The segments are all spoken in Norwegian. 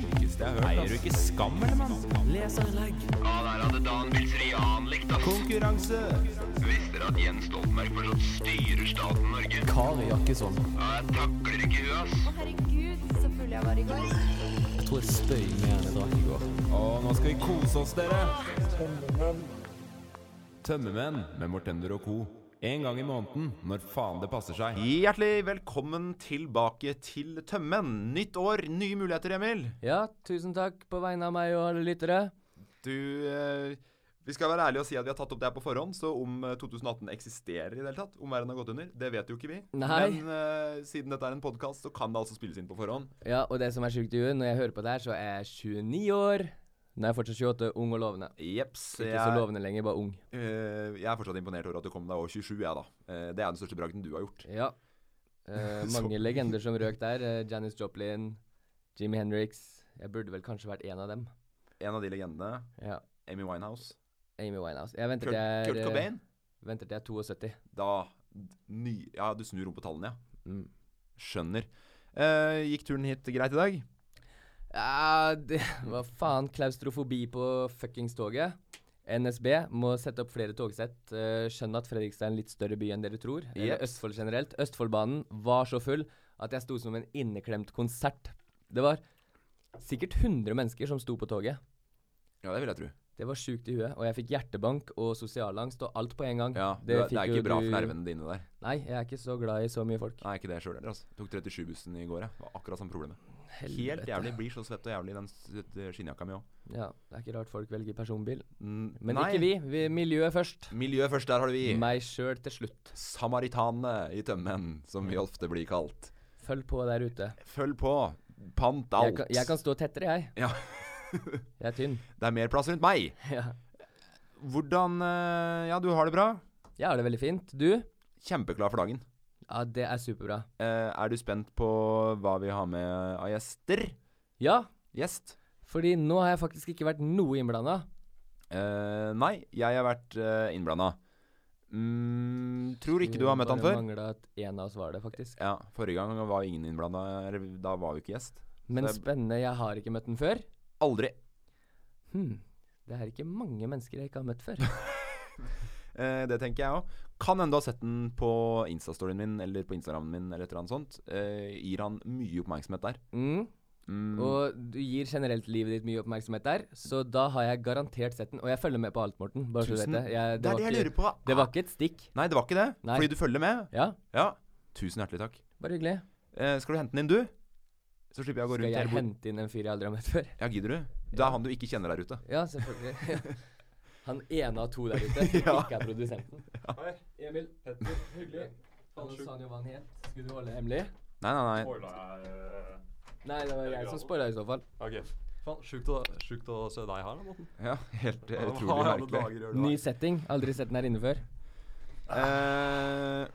Eier du ikke skam, eller, mann? Leserinnlegg. Ja, der hadde Dan Bilzerian likt, ass. Konkurranse! Visste dere at Jens Stoltenberg fortsatt styrer staten Norge? Kari sånn. Jakkesson. Ja, jeg takler ikke huet, ass. Å, herregud, så full jeg var i går. Jeg tror jeg spøy mer enn jeg drakk i går. Å, nå skal vi kose oss, dere! Tømmermenn med Mortender og co. En gang i måneden, når faen det passer seg. Hjertelig velkommen tilbake til Tømmen. Nytt år, nye muligheter, Emil. Ja, tusen takk på vegne av meg og alle lyttere. Du eh, Vi skal være ærlige og si at vi har tatt opp det her på forhånd, så om eh, 2018 eksisterer i det hele tatt, om verden har gått under, det vet jo ikke vi. Nei. Men eh, siden dette er en podkast, så kan det altså spilles inn på forhånd. Ja, og det som er sjukt i huet, når jeg hører på det her, så er jeg 29 år. Nå er jeg fortsatt 28, ung og lovende. Jepps. Ikke Jeg, så lovende lenger, bare ung. eh, jeg er fortsatt imponert over at du kom deg over 27, jeg, da. Eh, det er den største bragden du har gjort. Ja. Eh, Så- mange legender som røk der. eh, Janis Joplin, Jimmy Hendrix. Jeg burde vel kanskje vært en av dem. En av de legendene. Ja. Amy Winehouse. Amy Winehouse. Jeg venter Kurt, til jeg Kurt er, eh, Cobain. Venter til jeg er 72. Da ny, Ja, du snur om på tallene, ja. Mm. Skjønner. Eh, gikk turen hit greit i dag? Ja, det, hva faen. Klaustrofobi på fuckings toget. NSB må sette opp flere togsett. Eh, Skjønner at Fredrikstad er en litt større by enn dere tror. Eller Yep. Østfold generelt. Østfoldbanen var så full at jeg sto som en inneklemt konsert. Det var sikkert 100 mennesker som sto på toget. Ja, det vil jeg tro. Det var sjukt i huet, og jeg fikk hjertebank og sosialangst og alt på en gang. Ja, det, det, fikk er jo ikke bra du- for nervene dine der. Nei, jeg er ikke så glad i så mye folk. Nei, ikke det sjøl heller. altså. Tok 37-bussen i går, jeg. Var akkurat samme problemet. Helt Helvete. jævlig. Blir så svett og jævlig i den s- eh, skinnjakka mi òg. Ja, det er ikke rart folk velger personbil. Men ikke vi. vi miljøet først. Miljøet først, der har du vi. Meg sjøl til slutt. Samaritanene i tømmen, som vi ofte blir kalt. Følg på der ute. Følg på. Pant alt. Jeg kan, jeg kan stå tettere, jeg. Ja. Jeg er tynn. Det er mer plass rundt meg. Ja. Hvordan eh, Ja, du har det bra? Jeg har det veldig fint. Du? Kjempeklar for dagen. Ja, det er superbra. Eh, er du spent på hva vi har med av gjester? Ja, Gjest? fordi nå har jeg faktisk ikke vært noe innblanda. Eh, nei, jeg har vært uh, innblanda. Mm, tror ikke du har møtt han Bare før. manglet at en av oss var det, faktisk. Ja, Forrige gang var ingen innblanda. eller Da var vi ikke gjest. Men det- spennende, jeg har ikke møtt den før. Aldri. Hm. Det er ikke mange mennesker jeg ikke har møtt før. Eh, det tenker jeg òg. Kan hende du har sett den på Instastoryen min eller på Instagrammen min. eller et eller annet sånt Eh, Gir han mye oppmerksomhet der. Mm. Mm, Og du gir generelt livet ditt mye oppmerksomhet der, så da har jeg garantert sett den. Og jeg følger med på alt, Morten. Bare så du tusen- vet det. Jeg, det er det jeg var lurer på. ikke, det var ikke et stikk. Nei, det var ikke det. Nei. Fordi du følger med. Ja, Ja. Tusen hjertelig takk. bare hyggelig. Eh, skal du hente den inn, du? Så slipper jeg å gå Skal rundt jeg hele bordet. hente inn en fyr jeg aldri har møtt før? Ja, gidder du? Det er han du ikke kjenner der ute. Ja, selvfølgelig. Han ene av to der ute som Ja. ikke er produsenten. Hei, Emil. Petter. Hyggelig. Alle sa han jo hva han het. Skulle du holde det hemmelig? Nei, nei, Eh, nei. Nei, det var jeg som spoila i så fall. Ok. eh, Faen, sjukt å, sjukt å se deg her, da, Morten. Ja, helt eh, Hva utrolig i alle merkelig. dager gjør du Ny her? setting. Aldri sett den her inne før. Eh,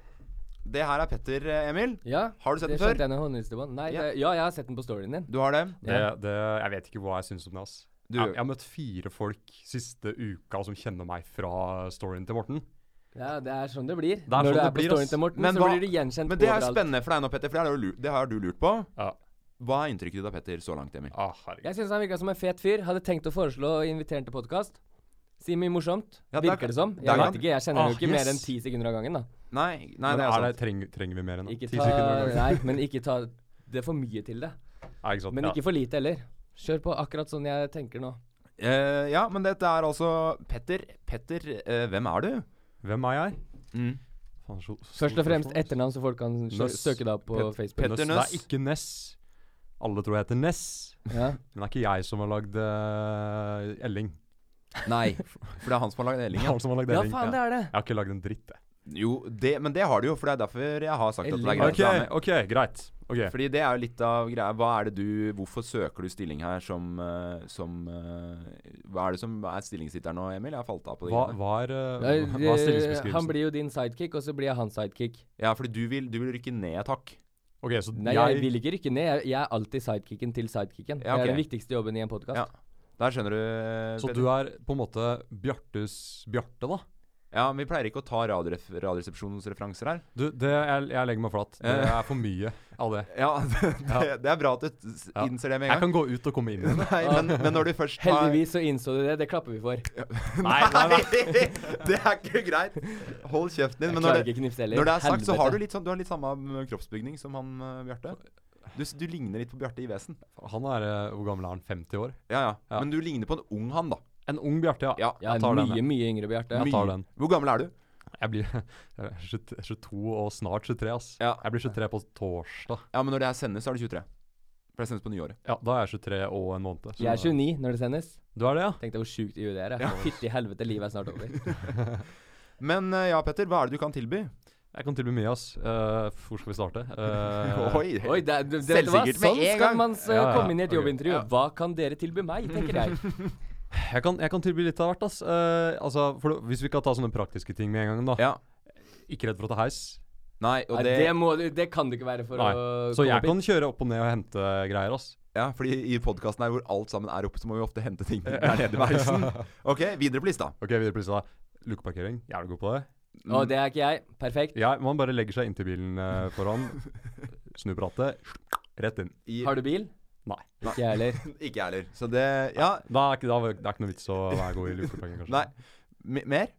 det her er Petter, eh, Emil. Ja. Har du sett det den før? skjønte jeg når håndhilste på han. Nei, Ja. det, ja, jeg har sett den på storyen din. Du har det? Det, det, jeg vet ikke hva jeg syns om det. ass. Du- jeg, jeg har møtt fire folk siste uka som kjenner meg fra storyen til Morten. Ja, det er sånn det blir. er sånn når du det er på blir, ass. storyen til Morten, Men så hva- blir du gjenkjent Men det er jo overalt. spennende for deg nå, Petter, for det, er jo lurt, det har du lurt på. Ja. Hva er inntrykket ditt av Petter så langt, Emil? Ah, herregud. Jeg syns han virka som en fet fyr. Hadde tenkt å foreslå å invitere han til podkast. Si mye morsomt. Ja, der- Virker det som. der Jeg kan- vet ikke, jeg kjenner han jo Ah, ikke mer enn yes. ti sekunder av gangen, da. Nei, nei Men det er er sant. det, treng, trenger vi mer enn Ikke ti ta, sekunder? om gangen? nei, men ikke ta det er for mye til det. Ja, ikke sant? Men ja. ikke for lite heller. Kjør på akkurat sånn jeg tenker nå. Eh, ja, men dette er altså Petter, Petter, eh, hvem er du? Hvem er jeg? Mm. Faen, så, så Først og fremst spørsmål. etternavn, så folk kan sø- Nøss. søke deg opp på Pet- Facebook. Petter Nøss. Det Nøss. er ikke Ness. Alle tror jeg heter Ness. Ja. Men det er ikke jeg som har lagd eh, Elling. Nei, for det er han som har lagd Det Elling, er ja. han som har lagd ja, Elling. faen, det er det. Jeg har ikke lagd en dritt, jeg. Jo, det, men det har du jo, for det er derfor jeg har sagt at det er Elling. greit. Ok, å ha med. ok, greit. Ok. Fordi det er jo litt av greia. Hva er det du Hvorfor søker du stilling her som, eh, som eh, Hva er det som er stillingssitteren nå, Emil? Jeg har falt av på det. Hva, greiene. hva er, eh, Nei, hva- hva er det- Han stillingsbeskrivelsen? blir jo din sidekick, og så blir jeg hans sidekick. Ja, fordi du vil, du vil rykke ned et hakk. Ok, så Nei, jeg, vil ikke rykke ned. Jeg, jeg er alltid sidekicken til sidekicken. Ja, Det er ok. den viktigste jobben i en podkast. Ja. Der skjønner du Så du er på en måte Bjartes Bjarte, da? Ja, men vi pleier ikke å ta radioref Radioresepsjonens referanser her. Du, det, jeg, jeg legger meg flat. Det er for mye av det. Ja, det, det er bra at du s- Ja. innser det med Jeg en gang. kan gå ut og komme inn igjen. Nei, men, men når du først tar- Heldigvis så innså du det. Det klapper vi for. Nei, nei, Nei, det er ikke greit. Hold kjeften din. Jeg Men når klarer det, ikke knipse heller. når det er sagt, så har Helvete. du litt, sånn, du har litt samme mm, kroppsbygning som han eh, Bjarte. Du, s- du ligner litt på Bjarte i vesen. Han er eh, Hvor gammel er han? 50 år? Ja, ja. Ja. Men du ligner på en ung han, da. En ung Bjarte, ja. Ja, Ja, Jeg tar den, mye, jeg. mye yngre, Bjarte. Jeg Mye. tar den. Hvor gammel er du? Jeg blir jeg er 22 og snart 23, ass. Ja. Jeg blir 23 på torsdag. Ja, men når det her sendes, så er du 23. For det sendes på nyåret. Ja, da er jeg 23 og en måned. så- Jeg er 29 når det sendes. Du er det, ja? Tenk deg hvor sjukt i huet det er. jeg. Fytti helvete, livet er snart over. Men eh, ja, Petter, hva er det du kan tilby? Jeg kan tilby mye, ass. Eh, f- hvor skal vi starte? Eh, Oi. Oi, det, det, det, det var Selvsikkert med sånn en gang. skal man så, Ja, ja, komme inn i et ok. jobbintervju. Hva kan dere tilby meg, tenker jeg. jeg, kan, jeg kan tilby litt av hvert, ass. Eh, altså, for, det- hvis vi kan ta sånne praktiske ting med en gang, da. Ja. Ikke redd for å ta heis. Nei, og Nei, det, det, må, du- det kan du ikke være for Nei. å Så jeg komme kan kjøre opp og ned og hente greier, ass. Ja, fordi i podkasten her hvor alt sammen er oppe, så må vi ofte hente ting der nede ved heisen. Ok, videre på lista. Ok, videre på lista. Lukkeparkering. Jævlig god på det. opp. Og det er ikke jeg. Perfekt. Ja, man bare legger seg inntil bilen eh, foran, snur på rattet, rett inn. I, Har du bil? Nei. Ikke jeg heller. Ikke jeg heller. Så det Ja, Da er ikke, da, er det ikke noe vits å være god i lukkeparkering, kanskje. nei. M mer?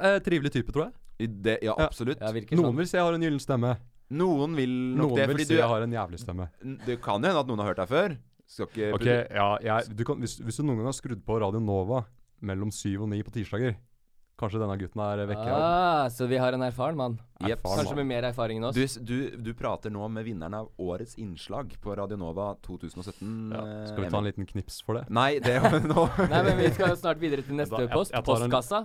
Eh, trivelig type, tror jeg. I Det, ja, Ja. absolutt. Jeg virker Noen sånn. vil si jeg har en gyllen stemme. Noen vil nok Noen det, vil fordi si du jeg har en jævlig stemme. N- Det kan jo hende at noen har hørt deg før. Skal ikke Ok, ja, jeg, du kan, hvis, hvis du noen gang har skrudd på Radio Nova mellom syv og ni på tirsdager, kanskje denne gutten er vekke. Ah, så vi har en erfaren mann. Jep. erfaren Kanskje med mer erfaring enn oss. du, s- du, du prater nå med vinneren av årets innslag på Radionova 2017. Ja. eh, Skal vi ta Emil. en liten knips for det? Nei, det er nå Nei, men vi skal snart videre til neste Da- jeg- post. jeg tar en- Postkassa.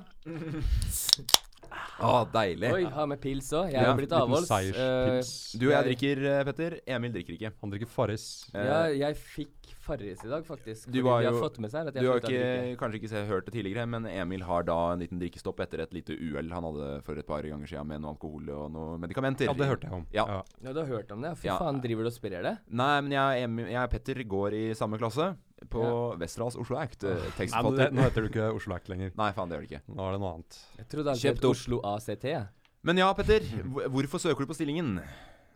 Å, deilig. Oi, har med pils òg. Jeg Ja, har blitt Liten avholds. eh, seierspips. Du og jeg drikker, eh, Petter. Emil drikker ikke. Han drikker Farris. Eh, ja, jeg fikk Farris i dag, faktisk. Du fordi var de jo- har fått med seg at Du jeg har slutta å drikke. ikke, kanskje ikke se- hørt det tidligere, men Emil har da en liten drikkestopp etter et lite uhell han hadde for et par ganger siden med noe alkohol og noen medikamenter. Ja, det hørte jeg om. Ja. eh, Ja, du har hørt om det? Fy Ja. faen, driver du og sprer det? Nei, men jeg, Emil, jeg og Petter går i samme klasse på Westerdals Oslo Act. eh, Nei, men det, Tekstforfatter. nå heter du ikke Oslo Act lenger. Nei, faen, det gjør det ikke. Nå er det noe annet. Jeg trodde alltid Kjøpt Kjøpt opp. Oslo ACT. jeg. Men ja, Petter. hvor- Hvorfor søker du på stillingen?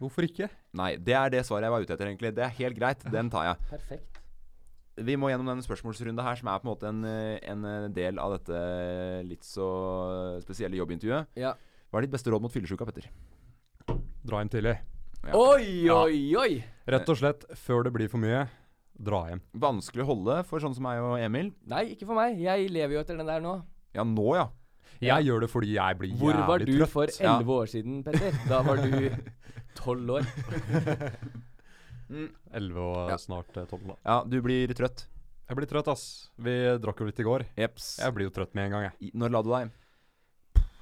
Hvorfor ikke? Nei, det er det svaret jeg var ute etter, egentlig. Det er helt greit. Den tar jeg. Perfekt. Vi må gjennom denne spørsmålsrunde her, som er på en måte en, eh, en eh, del av dette eh, litt så eh, spesielle jobbintervjuet. Ja. Hva er ditt beste råd mot fyllesyke, Petter? Dra hjem tidlig. Oi, oi, oi! Rett og slett, før det blir for mye, dra hjem. Vanskelig å holde for sånn som meg og Emil. Nei, ikke for meg. Jeg lever jo etter den der nå. Ja, nå, ja. Jeg gjør det fordi jeg blir Hvor var jævlig du trøtt. for Ja. elleve år siden, Petter? Da var du tolv år. 11 og Ja. snart eh, 12, da. Ja, du blir trøtt. Jeg blir trøtt, ass. Vi drakk jo litt i går. Jeps. Jeg blir jo trøtt med en gang, jeg. I- Når la du deg?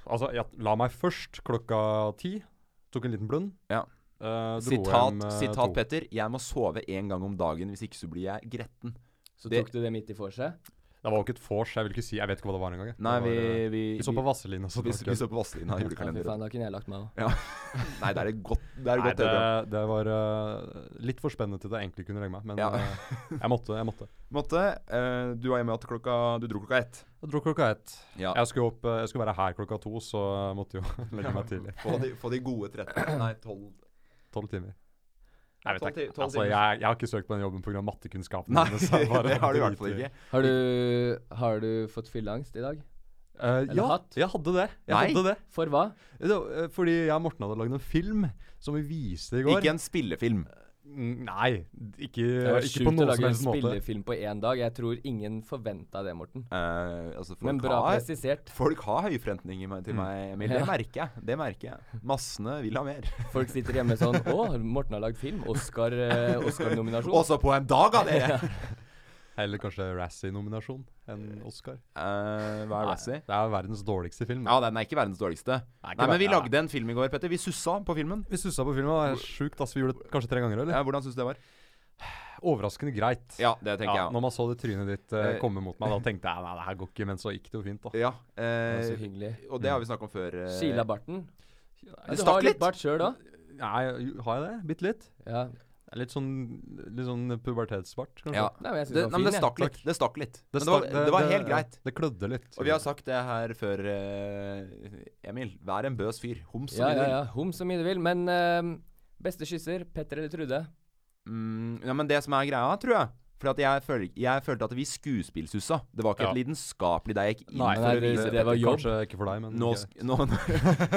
Altså, jeg la meg først klokka ti. Tok en liten blund. Ja. Eh, dro Sitat, hjem, eh, sitat to. Petter. Jeg må sove én gang om dagen, hvis ikke så blir jeg gretten. Så Det- tok du det midt i vorset. Det var jo ikke et vors, jeg vil ikke si Jeg vet ikke hva det var engang. jeg. Nei, Det var, vi eh, Vi, vi så på Vazelina, så vi, vi drakk jeg. så på Vazelina Ja, fy julekalender. faen, da kunne jeg lagt meg òg. Nei, det er et godt Det er et Nei, godt det, øyeblikk. det var eh, litt for spennende til det jeg egentlig kunne legge meg, men Ja. eh, jeg måtte. Jeg måtte. Måtte, eh, du var hjemme at klokka Du dro klokka ett. Jeg dro klokka ett. Ja. Jeg, skulle opp, eh, jeg skulle være her klokka to, så jeg måtte jo legge meg tidlig. Få de, få de gode 13 Nei, 12 Tolv timer. Ja, Jeg vet tolv ti- ikke. tolv altså, timer. jeg, jeg har ikke søkt på den jobben pga. mattekunnskapene Nei, mine, så jeg bare det har du i hvert fall driter i. ikke. Har du, har du fått fylleangst i dag? Eh, Eller ja, hatt? jeg hadde det. Jeg Nei. hadde det. For hva? Det var, eh, Fordi jeg og Morten hadde lagd en film som vi viste i går. Ikke en spillefilm. Mm, Nei, ikke, Det var ikke sjukt på å noen som lage en helst måte. spillefilm på én dag. Jeg tror ingen forventa det, Morten. Eh, altså, folk, Men bra har, presisert. folk har høye forventninger meg- til meg, Emil. Det Mm. Ja. merker jeg. Det merker jeg. Massene vil ha mer. Folk sitter hjemme sånn Å, Morten har lagd film. Oscar, eh, Oscar-nominasjon. Også på en dag av dere! Eller kanskje Razzie-nominasjon enn Oscar. Eh, hva er Razzie? Det er verdens dårligste film. Ja, den er ikke verdens dårligste. Nei, ikke Nei, men vi ver- lagde en film i går, Petter. Vi sussa på filmen. Vi sussa på filmen. Det er sjukt. ass. Vi gjorde det kanskje tre ganger, eller? Ja, hvordan syns du det var? Overraskende greit. Ja, det tenker Ja, jeg når man så det trynet ditt Eh. eh, komme mot meg, da tenkte jeg nei, det her går ikke, men så gikk det jo fint, da. Ja, Det var eh, Så hyggelig. Mm. og det har vi snakka om før. eh, Kila barten. Ja, Ja, det du stakk har litt litt. bart sjøl òg. Nei, har jeg det? Bitte litt? Ja. Det er Litt sånn, litt sånn pubertetsbart, kanskje. Ja. Nei, men jeg synes Det, den nei, men var det fin, stakk jeg. litt. Det stakk litt. Men det var, stak- det var helt ja, greit. Det klødde litt. Og vi har sagt det her før, eh, Emil. Vær en bøs fyr. Homs og Ja, ja, videre. ja. Hom så mye du vil. Men eh, beste kysser, Petter eller Trude? Mm, ja, men det som er greia, tror jeg Fordi at jeg, føl jeg følte at vi skuespillsussa. Det var ikke Ja. et lidenskapelig der jeg gikk inn Nei, for nei, å vise det- Petter. var jobb. Kanskje ikke for deg, men Nå, greit. sk nå,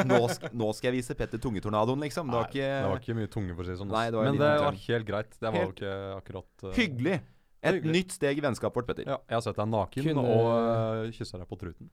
nå, sk nå skal jeg vise Petter tungetornadoen, liksom. Det var ikke, det var ikke mye tunge, for å si det sånn. ass. Nei, det var men liten det tunge. var helt greit. Det var jo Helt- ikke akkurat eh, hyggelig. Et Hyggelig. nytt steg i vennskapet vårt, Petter. Ja, jeg har sett deg naken Kunne- og uh, kyssa deg på truten.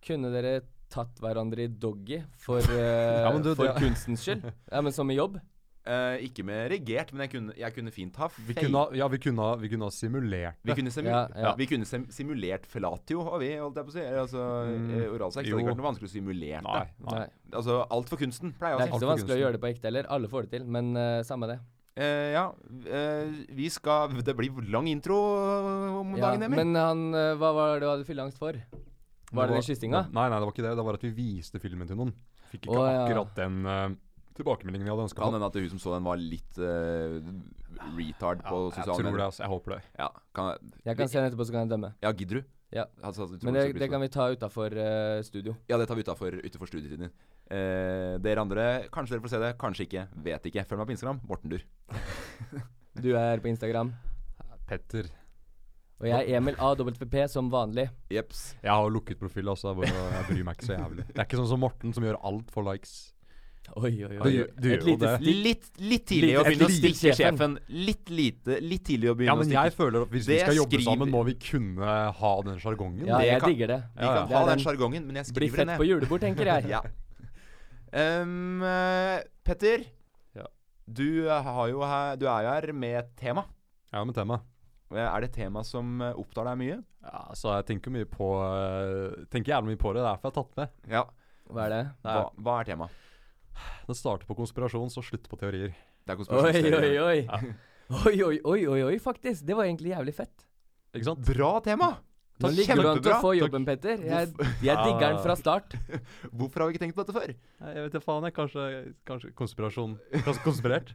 Kunne dere tatt hverandre i doggy for, eh, Ja, men du, for det- kunstens skyld? Ja, men som i jobb? Eh, ikke med regert, men jeg kunne, jeg kunne fint ha Vi fake. kunne, ha- ja, vi kunne, ha- vi kunne ha simulert Vi kunne, simu Ja, ja. vi kunne sim simulert felatio, har vi, holdt jeg på å si. Altså, Mm, eh, Oralsex. Det hadde jo. ikke vært noe vanskelig å simulere Nei. nei. Nei. det. Altså, alt for kunsten, pleier jeg å Det er si. ikke så Altfor vanskelig å gunstig. gjøre det på ekte heller. Alle får det til, men eh, samme det. Eh, ja, eh, vi skal Det blir lang intro om Ja, dagen, Emil. men han, eh, hva var det du hadde fylleangst for? Var det den kyssinga? Nei, nei, det var ikke det. Det var at vi viste filmen til noen. Fikk ikke Å, ja. akkurat den eh, tilbakemeldingen vi hadde ønska. Kan hende at hun som så den, var litt eh, retard på jeg sosiale tror det, medier. altså. Jeg håper det. Ja, kan, Jeg kan se den etterpå, så kan jeg dømme. ja, gidder du? Ja. Altså, jeg tror Men det, det blir det så- kan vi ta utafor eh, studio. Ja, det tar vi utenfor, utenfor studietiden din. Eh, dere andre, kanskje dere får se det, kanskje ikke. Vet ikke. Følg meg på Instagram. Mortendur. Du er på Instagram. Petter. Og jeg er Emil AWP som vanlig. Jeps. Jeg har jo lukket profil, altså. Jeg, bare, jeg bryr meg ikke så jævlig. Det er ikke sånn som Morten, som gjør alt for likes. Oi, oi, Du gjør- du gjør Et jo lite det. stikk. Litt, litt tidlig å Litt- begynne å litt- stikke sjefen. sjefen. Litt lite, litt tidlig å begynne Ja, men å jeg stikke føler at hvis vi Det skal jobbe skriver- sammen, må vi kunne ha den sjargongen. Ja, Det jeg kan- digger det. Vi kan Det er ha den den- sjargongen, men jeg Bli skriver fett det på ned. julebord, tenker jeg. Ja. Em, eh, Petter, Ja. du, har jo her, du er jo her med et tema. Eh, Jeg har med tema. Er det et tema som eh, opptar deg mye? Ja, så jeg tenker mye på eh, Tenker jævlig mye på det. Det er derfor jeg har tatt med. Ja. Hva er det? Det, Hva, er, hva er temaet? det starter på konspirasjon, så slutter på teorier. Det er Oi, oi, konspirasjonsteorier. oi. Oi, oi, oi, oi, oi, faktisk. Det var egentlig jævlig fett. Ikke sant? Bra tema! Nå ligger du an til å Kjempebra. få jobben, Petter. Jeg, jeg Ja. digger den fra start. Hvorfor har vi ikke tenkt på dette før? Nei, Jeg vet da faen, jeg. Kanskje, kanskje konspirasjon Kanskje konspirert?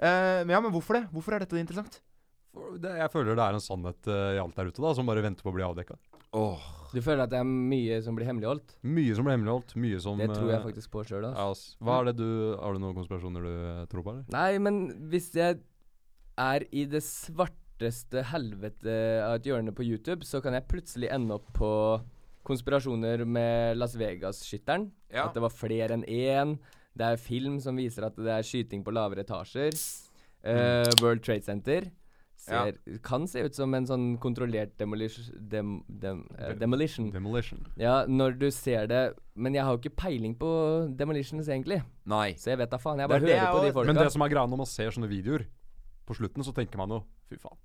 Eh, men ja, men hvorfor det? Hvorfor er dette interessant? For det, jeg føler det er en sannhet eh, i alt der ute, da, som bare venter på å bli avdekka. Åh, Du føler at det er mye som blir hemmeligholdt? Mye som ble hemmeligholdt, mye som Det tror jeg eh, faktisk på altså. sjøl. Ja, ass. Hva er det du Har du noen konspirasjoner du eh, tror på, eller? Nei, men hvis jeg er i det svarteste helvete av et hjørne på YouTube, så kan jeg plutselig ende opp på konspirasjoner med Las Vegas-skytteren. Mm, Ja. At det var flere enn én. Det er film som viser at det er skyting på lavere etasjer. Eh, Mm. World Trade Center. Ser, Kan se ut som en sånn kontrollert demolish, dem, dem, eh, demolition. Demolition. Ja, når du ser det Men jeg har jo ikke peiling på demolitions, egentlig. nei. Så jeg vet da faen. Jeg Det er bare det jeg hører på de også- folka. Men det som er greia når man ser sånne videoer, på slutten så tenker man jo Fy faen.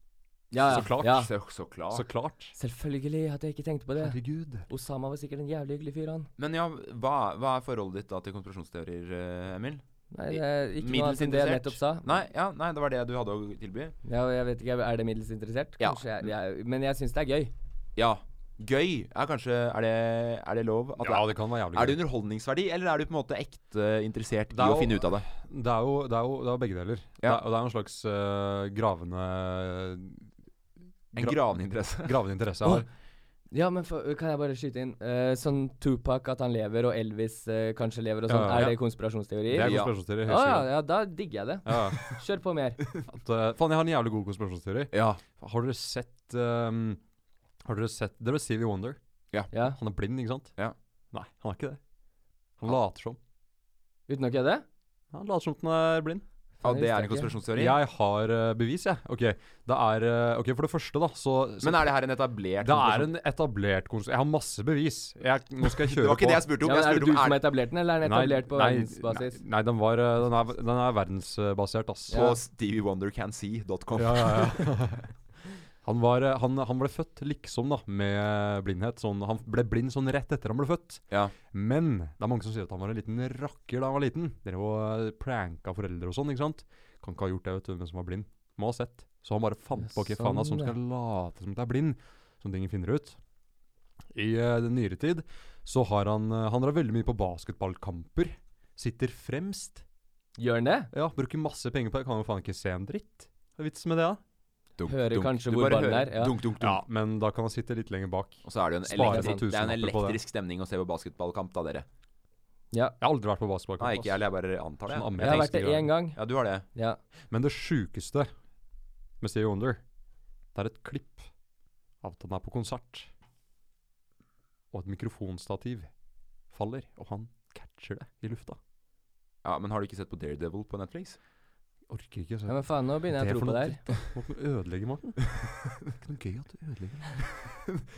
Ja, ja. Så klart. Ja. Så, så klart. Så klart. Selvfølgelig hadde jeg ikke tenkt på det. Herregud. Osama var sikkert en jævlig hyggelig fyr, han. Men ja, hva, hva er forholdet ditt da til konspirasjonsteorier, eh, Emil? Nei, det er ikke noe Middels annet enn det jeg interessert. nettopp sa. Nei, ja, nei, det var det du hadde å tilby. Ja, og jeg vet ikke, Er det middels interessert? Ja. Kanskje jeg, jeg, men jeg syns det er gøy. Ja. Gøy er kanskje Er det, er det lov? At Ja, det, det kan være jævlig er det gøy. underholdningsverdi, eller er du på en måte ekte interessert i er å jo- finne ut av det? Det er jo, det er jo det er begge deler. Det, Ja. er, og det er en slags eh, gravende En Gra- gravende interesse. Gravende interesse jeg har. Ja, men for, kan jeg bare skyte inn? Eh, sånn Tupac at han lever, og Elvis eh, kanskje lever og sånn. Ja, ja. Er det konspirasjonsteorier? Det er Ja. Å konspirasjonsteori. helt ja, sikkert. ja, da digger jeg det. Ja. Kjør på mer. At, eh, faen, jeg har en jævlig god konspirasjonsteori. Ja. Har dere sett ehm, Har dere sett Dere vet Stevie Wonder? Ja, Han er blind, ikke sant? Ja. Nei, han er ikke det. Han later som. Uten å kødde? Han later som at han er blind. Ja, det er Jeg en visste ikke. konspirasjonsteori. Jeg har eh, bevis, jeg. Ok, det er eh, Ok, for det første, da, så, så Men er det liksom- her en etablert Det er konspirasjon? en etablert konspirasjon. Jeg har masse bevis. Jeg, nå skal jeg Det kjøre var ikke på. det jeg spurte Ja, om. men jeg er det spurte du om som er, har etablert den, eller er den etablert på verdensbasis? Nei, nei den, var, eh, den, er, den er verdensbasert, ass. på steviewondercansee.com. Ja, ja, ja. Han, var, eh, han, han ble født liksom da, med blindhet. Sånn, han ble blind sånn rett etter han ble født. Ja. Men det er mange som sier at han var en liten rakker da han var liten. Dere var pranka foreldre og sånn, ikke sant? Kan ikke ha gjort det, vet du, hvem som var blind. Må ha sett. Så han bare fant på ok, Ja, faen, sånn, altså, som ja. skal late som at jeg er blind. Sånne ting finner ut. I eh, den nyere tid så har han eh, Han drar veldig mye på basketballkamper. Sitter fremst Gjør den det? Ja, bruker masse penger på det. Kan jo faen ikke se en dritt. Hva er vitsen med det, da? Dunk, Hører dunk. kanskje Du hvor bare ballen hører er, ja. Dunk, dunk, dunk. Ja, men da kan han sitte litt lenger bak. Og så er det jo en, Spare elektri noen det er en tusenlapper på det. elektrisk stemning å se på basketballkamp, da, dere. Ja. Jeg har aldri vært på basketballkamp. Nei, ikke jeg ass. heller. Jeg bare antar det. Sånn jeg. amme- Jeg har vært det én gang. Ja, du har det. Ja. Men det sjukeste med Stevie Wonder, det er et klipp av at han er på konsert, og et mikrofonstativ faller, og han catcher det i lufta. Ja, Men har du ikke sett på Daredevil på Netflix? Orker ikke, ja, så men faen, nå begynner Det jeg er å for tro på noe det her. må du ødelegge, Morten. ikke noe gøy at du ødelegger.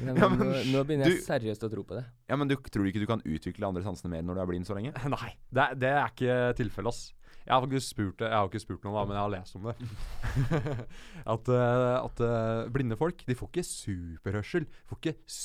Nei, Ja, men men nå, nå begynner jeg du- seriøst å tro på det. Ja, men du, Tror du ikke du kan utvikle andre sansene mer når du er blind så lenge? Nei, det er, det er ikke tilfellet, ass. Jeg har faktisk spurt det- Jeg har jo ikke spurt noen, da, men jeg har lest om det. at eh, at eh, blinde folk de får ikke superhørsel. Får ikke eh,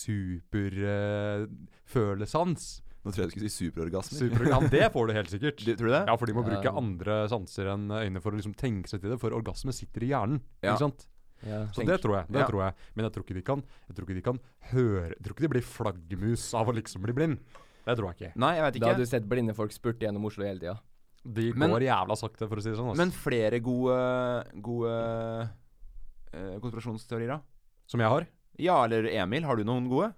superfølesans. Nå tror jeg du skulle si superorgasmer. Superorgan, det får du helt sikkert. Du, tror du det? Ja, for de må bruke Ja. andre sanser enn øyne for å liksom tenke seg til det, for orgasme sitter i hjernen. Ja. Ikke sant? Ja. Så Tenk- det tror jeg. det Ja. tror jeg. Men jeg tror ikke de kan Jeg tror ikke de kan høre Jeg tror ikke de blir flaggermus av å liksom bli blind. Det tror jeg ikke. Nei, jeg vet Da ikke. har du sett blinde folk spurte gjennom Oslo hele tida. De går Men- jævla sakte, for å si det sånn. ass. Men flere gode, gode eh, konspirasjonsteorier, da? Som jeg har. Ja, eller Emil, har du noen gode?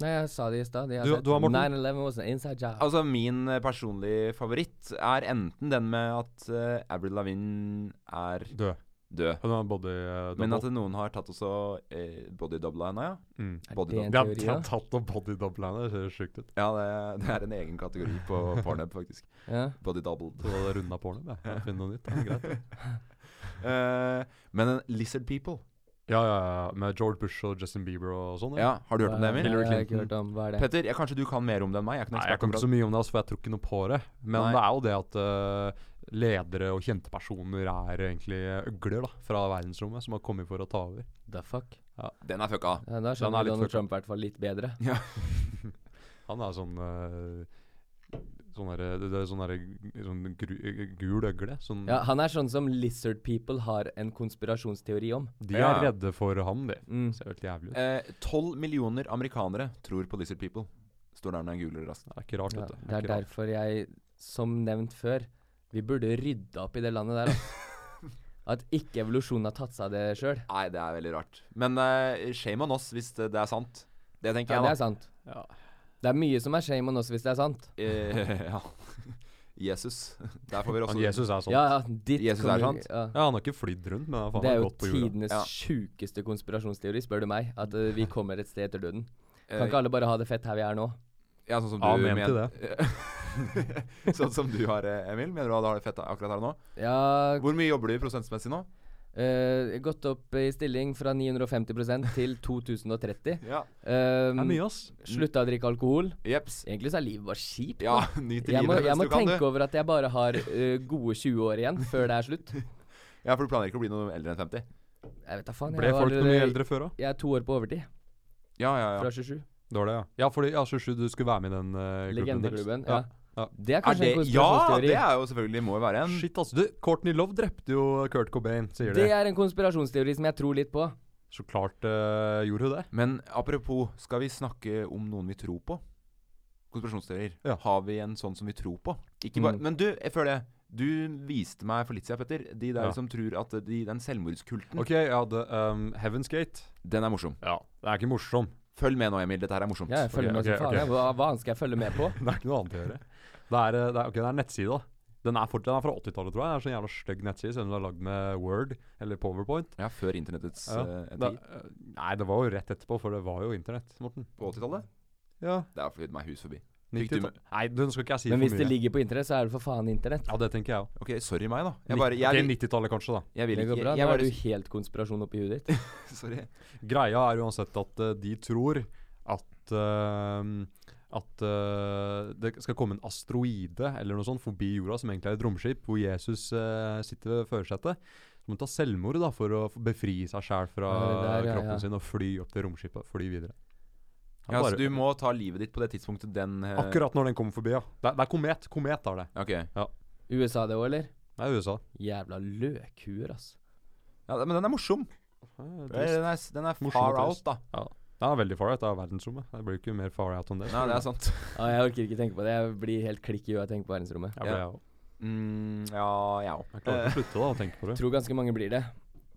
Nei, jeg sa det i stad. de har Du- sett du har, Morten? 9-11 was an inside job. Altså, min eh, personlige favoritt er enten den med at eh, Avril Lavigne er Død. død, Hun har body eh, men double. at noen har tatt også uh, bodydobla henne, ja. mm. Er body double. det en Vi har teori, vi har da? tatt opp body double her, det ser sjukt ut. Ja, det, det er en egen kategori på Pornhub, faktisk. Ja. Body doubled. Så da runda porno, det. Jeg finner noe nytt. Det er greit. Eh, men en Lizard People Ja, ja, ja. Med George Bush og Justin Bieber og sånn. Ja, Har du hørt om det, Emil? Nei, Hillary Jeg har ikke Clinton. hørt om Hva er det? Petter, ja, kanskje du kan mer om det enn meg? Jeg er ikke noen Nei, jeg ekspert kan ikke på så mye om det, altså, for jeg tror ikke noe på det. Men Nei. det er jo det at øh, ledere og kjente personer er egentlig øgler da, fra verdensrommet som har kommet for å ta over. The fuck? akkurat- Den er fucka. Ja, da er skjønner litt Donald fucka. Trump i hvert fall litt bedre. Han er sånn øh, Sånn derre- det det er sånn derre- sånn gru- gul øgle. Sånn, Ja, Han er sånn som lizard people har en konspirasjonsteori om. De Ja. er redde for ham, de. Mm. Ser helt jævlig ut. Eh, Tolv millioner amerikanere tror på Lizard People. Står der med den gule rassen. Det er ikke rart, Ja, vet du. det er ikke rart. derfor jeg, som nevnt før, vi burde rydde opp i det landet der. Altså. At ikke evolusjonen har tatt seg av det sjøl. Nei, det er veldig rart. Men eh, shame on oss hvis det, det er sant. Det tenker Ja, det er jeg, da. sant. Ja. Det er mye som er shame on oss hvis det er sant. Eh, ja. Jesus. Der får vi også Han Jesus er sånn. Altså, Ja, Ja, ja, ditt Jesus er kommer- sant. Ja. han har ikke flydd rundt, men han har Det er jo faen meg gått på jorda. tidenes Ja. sjukeste konspirasjonsteori, spør du meg. At eh, vi kommer et sted etter døden. Eh, Kan ikke alle bare ha det fett her vi er nå? Ja, sånn som du Amen men- til det. sånn som du har, eh, Emil. Mener du at du har det fett akkurat her og nå? Ja, Hvor mye jobber du prosentmessig nå? eh, gått opp i stilling fra 950 til 2030. Ja. Det er Um, mye, Mm. ass. Slutta å drikke alkohol. Jeps. Egentlig så er livet bare kjipt. Ja, nyt Jeg må, livet jeg mens må du kan, tenke du. over at jeg bare har ø, gode 20 år igjen før det er slutt. Ja, for du planlegger ikke å bli noe eldre enn 50? Jeg vet da faen. Mm. Ble Jeg, var folk noe mye allerede- eldre før, da? jeg er to år på overtid Ja, ja, ja. fra 27. Det var det, ja. Ja, fordi ja, 27, du skulle være med i den uh, klubben. Legendeklubben. deres. Ja. ja. Det er Er kanskje det en Ja, konspirasjonsteori. det er jo selvfølgelig må jo være en Shit, altså. Du, Courtney Love drepte jo Kurt Cobain, det sier de. er en konspirasjonsteori som jeg tror litt på. Så klart eh, gjorde hun det. Men apropos, skal vi snakke om noen vi tror på? Konspirasjonsteorier. Ja. Har vi en sånn som vi tror på? Ikke bare, Mm. Men du, jeg føler det. Du viste meg for litt siden, Petter. De der Ja. som tror at de, den selvmordskulten OK, ja, det, um, Heaven's Gate. Den er morsom. Ja. Det er ikke morsom. Følg med nå, Emil. Dette her er morsomt. Ja, jeg følger Ok, med som ok, faen. ok. jeg. Hva, hva annet skal jeg følge med på? Det er ikke noe annet å gjøre. Det er, eh, det er, ok, det er en nettside, da. Den er, fort, den er fra 80-tallet, tror jeg. Det er en sånn jævla stygg nettside, selv om den er lagd med Word eller Powerpoint. Ja, før internettets Ja. eh, Da, tid. eh, nei, det var jo rett etterpå, for det var jo internett, Morten. På 80-tallet? Ja, Det er flydd meg hus forbi. Fikk du 90 Nei, du, nå skal ikke jeg si Men hvis for det mye. ligger på internett, så er det for faen internett. Ja, det tenker jeg òg. Ok, sorry meg, da. Jeg bare Jeg, Ok, vil- 90-tallet, kanskje, da. jeg vil Det ikke går bra. Jeg, Nå jeg er bare du helt konspirasjon oppi huet ditt. Sorry. Greia er uansett at eh, de tror at eh, at eh, det skal komme en asteroide eller noe sånt forbi jorda, som egentlig er et romskip, hvor Jesus eh, sitter ved førersetet. Så må han ta selvmord da, for å få befri seg sjæl fra Ja, det der, ja, kroppen ja. sin og fly opp til romskipet. Fly videre. Han Ja, så bare- du må ta livet ditt på det tidspunktet den eh, Akkurat når den kommer forbi, ja. Det er, det er komet. Komet er det. Ok. USA det òg, eller? Det er USA. Jævla løkhuer, ass. Ja, men den er morsom. Det er, Den er, den er Morsom far og out, trist. da. det er veldig far out. Det er verdensrommet. Det blir jo ikke mer far out enn det. Nei, det er sant. Ah, jeg orker ikke tenke på det. Jeg blir helt klikk i huet av å tenke på verdensrommet. Jeg ble, Ja. jeg også. Mm, ja, jeg òg. Jeg klarer ikke å slutte da, å tenke på det. Tror ganske mange blir det.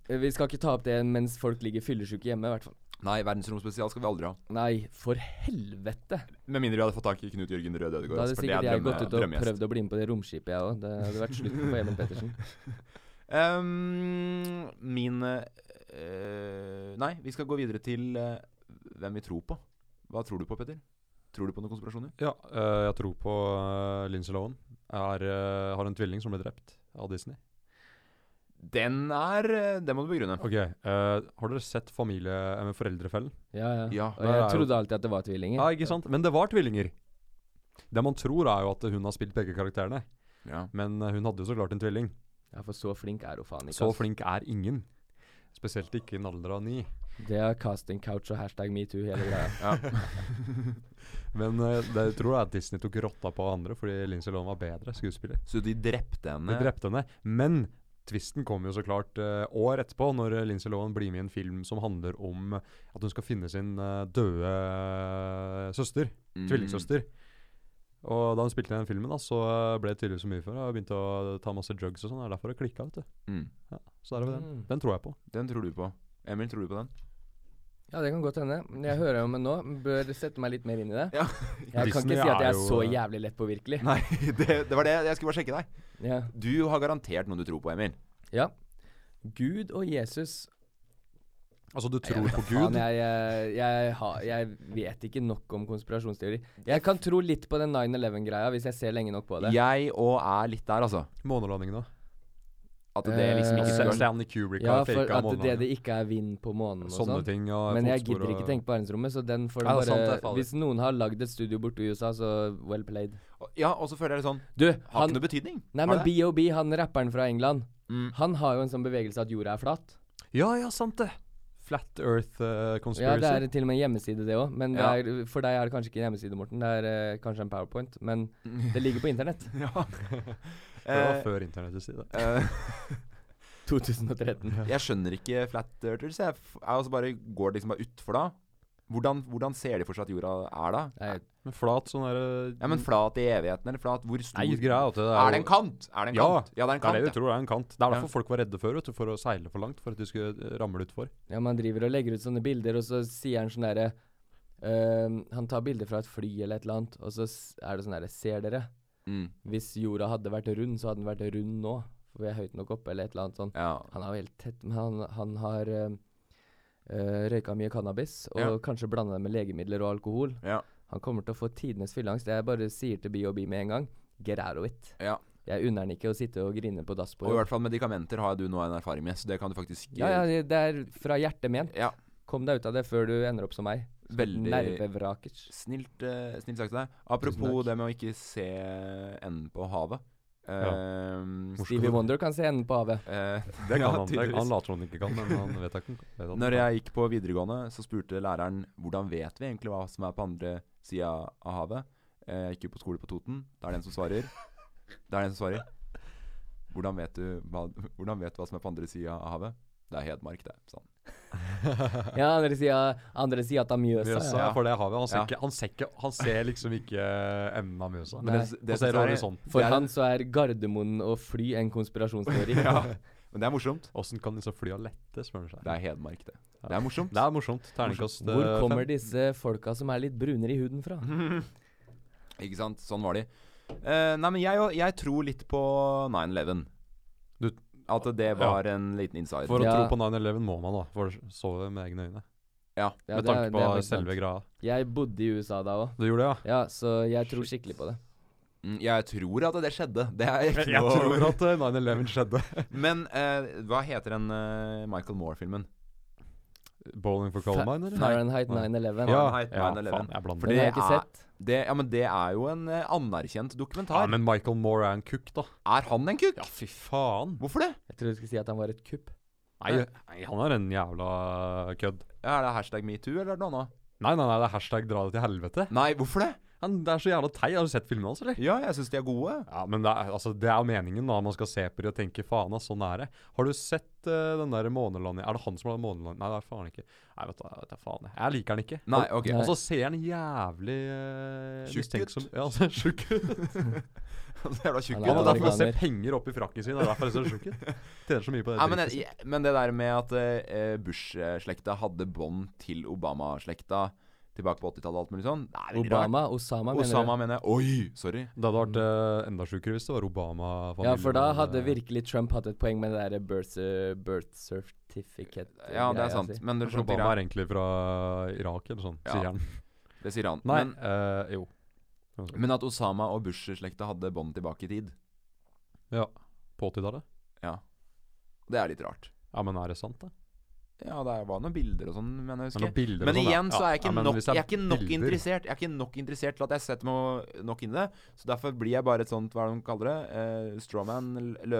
Eh, Vi skal ikke ta opp det mens folk ligger fyllesyke hjemme, i hvert fall. Nei, verdensromspesial skal vi aldri ha. Nei, for helvete! Med mindre vi hadde fått tak i Knut Jørgen Røde Da Ødegaard. hadde altså, for det er sikkert jeg drømme- gått ut og drømmegjest. prøvd å bli med på det romskipet, jeg òg. Det hadde vært slutten på Even Pettersen. Ehm, min eh, Nei, vi skal gå videre til eh, hvem vi tror på. Hva tror du på, Petter? Tror du på noen konspirasjoner? Ja, eh, jeg tror på uh, Lindsay Lohan. Jeg er, eh, har en tvilling som ble drept av Disney. Den er eh, Den må du begrunne. Ok, eh, Har dere sett familie eh, med foreldrefellen? Ja, ja. Ja, og der er jeg jo- trodde alltid at det var tvillinger. Ja, ikke sant? Men det var tvillinger. Det man tror, er jo at hun har spilt begge karakterene. Ja. Men eh, hun hadde jo så klart en tvilling. Ja, for så flink er hun faen ikke. Så ass. flink er ingen. Spesielt ikke i en alder av ni. Det er casting couch og hashtag metoo, hele greia. Men eh, det jeg tror jeg at Disney tok rotta på andre fordi Lindsay Lohan var bedre skuespiller. Så de drepte henne. De drepte henne. Men tvisten kommer jo så klart eh, år etterpå, når eh, Lindsay Lohan blir med i en film som handler om eh, at hun skal finne sin eh, døde eh, søster. Mm. Tvillingsøster. Og da hun spilte i den filmen, da, så eh, ble det tydeligvis for mye for henne. og Begynte å ta masse drugs og sånn. Det er derfor det klikka, vet du. Mm. Så der har vi den. Mm. Den tror jeg på. Den tror du på. Emil, tror du på den? Ja, det kan godt hende. Jeg hører om det nå. Bør sette meg litt mer inn i det. Ja. Jeg kan ikke Disney si at jeg er er jo, så eh, jævlig lettpåvirkelig. Nei, det, det var det. Jeg skulle bare sjekke deg. Ja. Du har garantert noen du tror på, Emil. ja. Gud og Jesus Altså, du Jeg tror vet da på Gud. Faen, jeg, jeg, jeg, har- jeg vet ikke nok om konspirasjonsteori. Jeg kan tro litt på den 9-11-greia hvis jeg ser lenge nok på det. Jeg òg er litt der, altså. Månelandingen, da. At det liksom ikke Eh, skulle Stan- Stanley Kubrick Ja, har for faka at det, månelandingen. det ikke er vind på månen og altså. Sånne sånn. ting. Og Men jeg fotspor gidder og- ikke tenke på verdensrommet, så den får Ja, den det er sant, det bare er farlig. Hvis noen har lagd et studio borte i USA, så well played. Ja, og så føler jeg det sånn Du, Har han ikke noe betydning. Nei, Har men det? BOB, han rapperen fra England, Mm. han har jo en sånn bevegelse at jorda er flat. Ja, ja, sant det. Flat Earth eh, Ja, Conspiracy. det er til og med en hjemmeside, det òg. Men det Ja. er, for deg er det kanskje ikke en hjemmeside, Morten. Det er eh, kanskje en powerpoint. Men det ligger på internett. Ja. det var Eh, før internettets side. eh, 2013. Jeg skjønner ikke flat earthers. Jeg, f- jeg også bare går liksom bare utfor da. Hvordan, hvordan ser de for seg at jorda er da? Nei, Men flat sånn derre Ja, men flat i evigheten, eller flat hvor stor Nei, greia er at det er Er det jo- en kant? Er det en Ja, kant? Ja, det er en Det er kant. det vi tror det er en kant. Det er Ja. derfor folk var redde før, vet du, for å seile for langt. For at de skulle eh, ramle utfor. ja, man driver og legger ut sånne bilder, og så sier han sånn derre eh, Han tar bilder fra et fly eller et eller annet, og så s- er det sånn derre Ser dere? ja. Mm. Hvis jorda hadde vært rund, så hadde den vært rund nå. For vi er høyt nok oppe, eller et eller annet sånn. ja. Han er jo helt tett, men han, han har eh, eh, røyka mye cannabis, og Ja. kanskje blanda det med legemidler og alkohol. Ja. Han kommer til å få tidenes fylleangst. Jeg bare sier til BOB med en gang, get out of it. Ja. Jeg unner han ikke å sitte og grine på dass på Og i jobb. hvert fall medikamenter har du nå en erfaring med, så det kan du faktisk Ja, ja, det- det er fra hjertet ment. Ja, Kom deg ut av det før du ender opp som meg. Veldig Nervevrakers. snilt, eh, snilt sagt av deg. Apropos Tusen takk. det med å ikke se enden på havet. Ehm, Stevie Wonder kan se enden på havet. eh, Det kan ja, han. Det, tydeligvis. han later som han ikke kan, men han vet ikke. Vet at han Når kan. jeg gikk på videregående, så spurte læreren hvordan vet vi egentlig hva som er på andre sida av havet. Eh, Jeg gikk jo på skole på Toten. Da er det en som svarer. Da er det en som svarer. Hvordan vet du hva, hvordan vet du hva som er på andre sida av havet? Det er Hedmark, det. sa han. Ja, andre sida andre sida av Mjøsa, Mjøsa. ja. for det har vi. Han ser, Ja. ikke, han, ser ikke, han ser liksom ikke enden av Mjøsa. Men det- det han ser som er- horisonten. For Det er- han så er Gardermoen og fly en konspirasjonsteori. Men det er morsomt. Åssen kan disse flya lette, spør han seg. Det er Hedmark, det. Det er morsomt. Det er morsomt. Terningkast Hvor eh, kommer fem. disse folka som er litt brunere i huden fra? Ikke sant? Sånn var de. Eh, nei, men jeg, og- jeg tror litt på 9-11. Du- At det var en liten insider. For å Ja. tro på 9-11 må man, da. For å så det med egne øyne. ja. Ja, det med er- tanke det er på veldig sant. selve greia. Jeg bodde i USA da òg. Du gjorde det, ja? Ja, så jeg tror skikkelig på det. Mm, Jeg tror at det skjedde. Det er ikke Jeg noe tror at eh, 9-11 skjedde. Men eh, hva heter den eh, Michael Moore-filmen? Bowling for Fa- Coal Mine, eller? Fahrenheit Nei. 9-11. Ja, Fahrenheit ja, 9/11. faen, jeg blander. For Den har det jeg ikke er- sett. Det, ja, men det er jo en eh, anerkjent dokumentar. Ja, men Michael Moore er en kukk, da. Er han en kukk? Ja, fy faen. Hvorfor det? Eh, Jeg trodde du skulle si at han var et kupp. Nei, nei, han er en jævla øh, kødd. Ja, er det hashtag metoo, eller er det noe annet? Nei, nei, nei, det er hashtag dra det til helvete. Nei, hvorfor det? Han, det er så jævla teit. Har du sett filmene hans, eller? Ja, jeg syns de er gode. Ja, men det er, altså, det er jo meningen, da. Man skal se på de og tenke faen, ass, sånn er det. Har du sett eh, den der månelandingen Er det han som har månelandingen? Nei, det er faen ikke. Nei, vet du, hva, vet du, faen. jeg. Jeg liker han ikke. Nei, ok. Og så ser han jævlig uh, Tjukk ut. Ja, altså, tjukk ut. Jævla tjukk. Han Ja, Han er gutt. derfor man ser amerikaner. penger oppi frakken sin. Det er derfor han ser så tjukk ut. Tjener så mye på det. Nei, men, jeg, jeg- men det der med at eh, Bush-slekta hadde bånd til Obama-slekta tilbake på 80-tallet og alt mulig sånn det er veldig rart. Obama? Osama, mener Osama, mener jeg. Oi, sorry. det hadde vært eh, enda sjukere hvis det var Obama. du? Ja, for da eh. hadde virkelig Trump hatt et poeng med det derre birth, eh, birth certificate Ja, det greia er sant. si. Men dere skjønte Obama greia. er egentlig fra Irak eller sånn, Ja. sier han. Det sier han. Nei, Men, eh, jo. men at Osama og Bush-slekta hadde bånd tilbake i tid, Ja. På 80-tallet? det er litt rart. Ja, men er det sant, da? Ja, det var noen bilder og sånn, men jeg Det er husker. noen bilder og Men sånn, ja. igjen så er jeg Ja, ikke men nok, hvis det jeg er ikke nok bilder- interessert Jeg er ikke nok interessert til at jeg setter meg nok inn i det. Så derfor blir jeg bare et sånt, hva er det de kaller det, eh, strawman, l-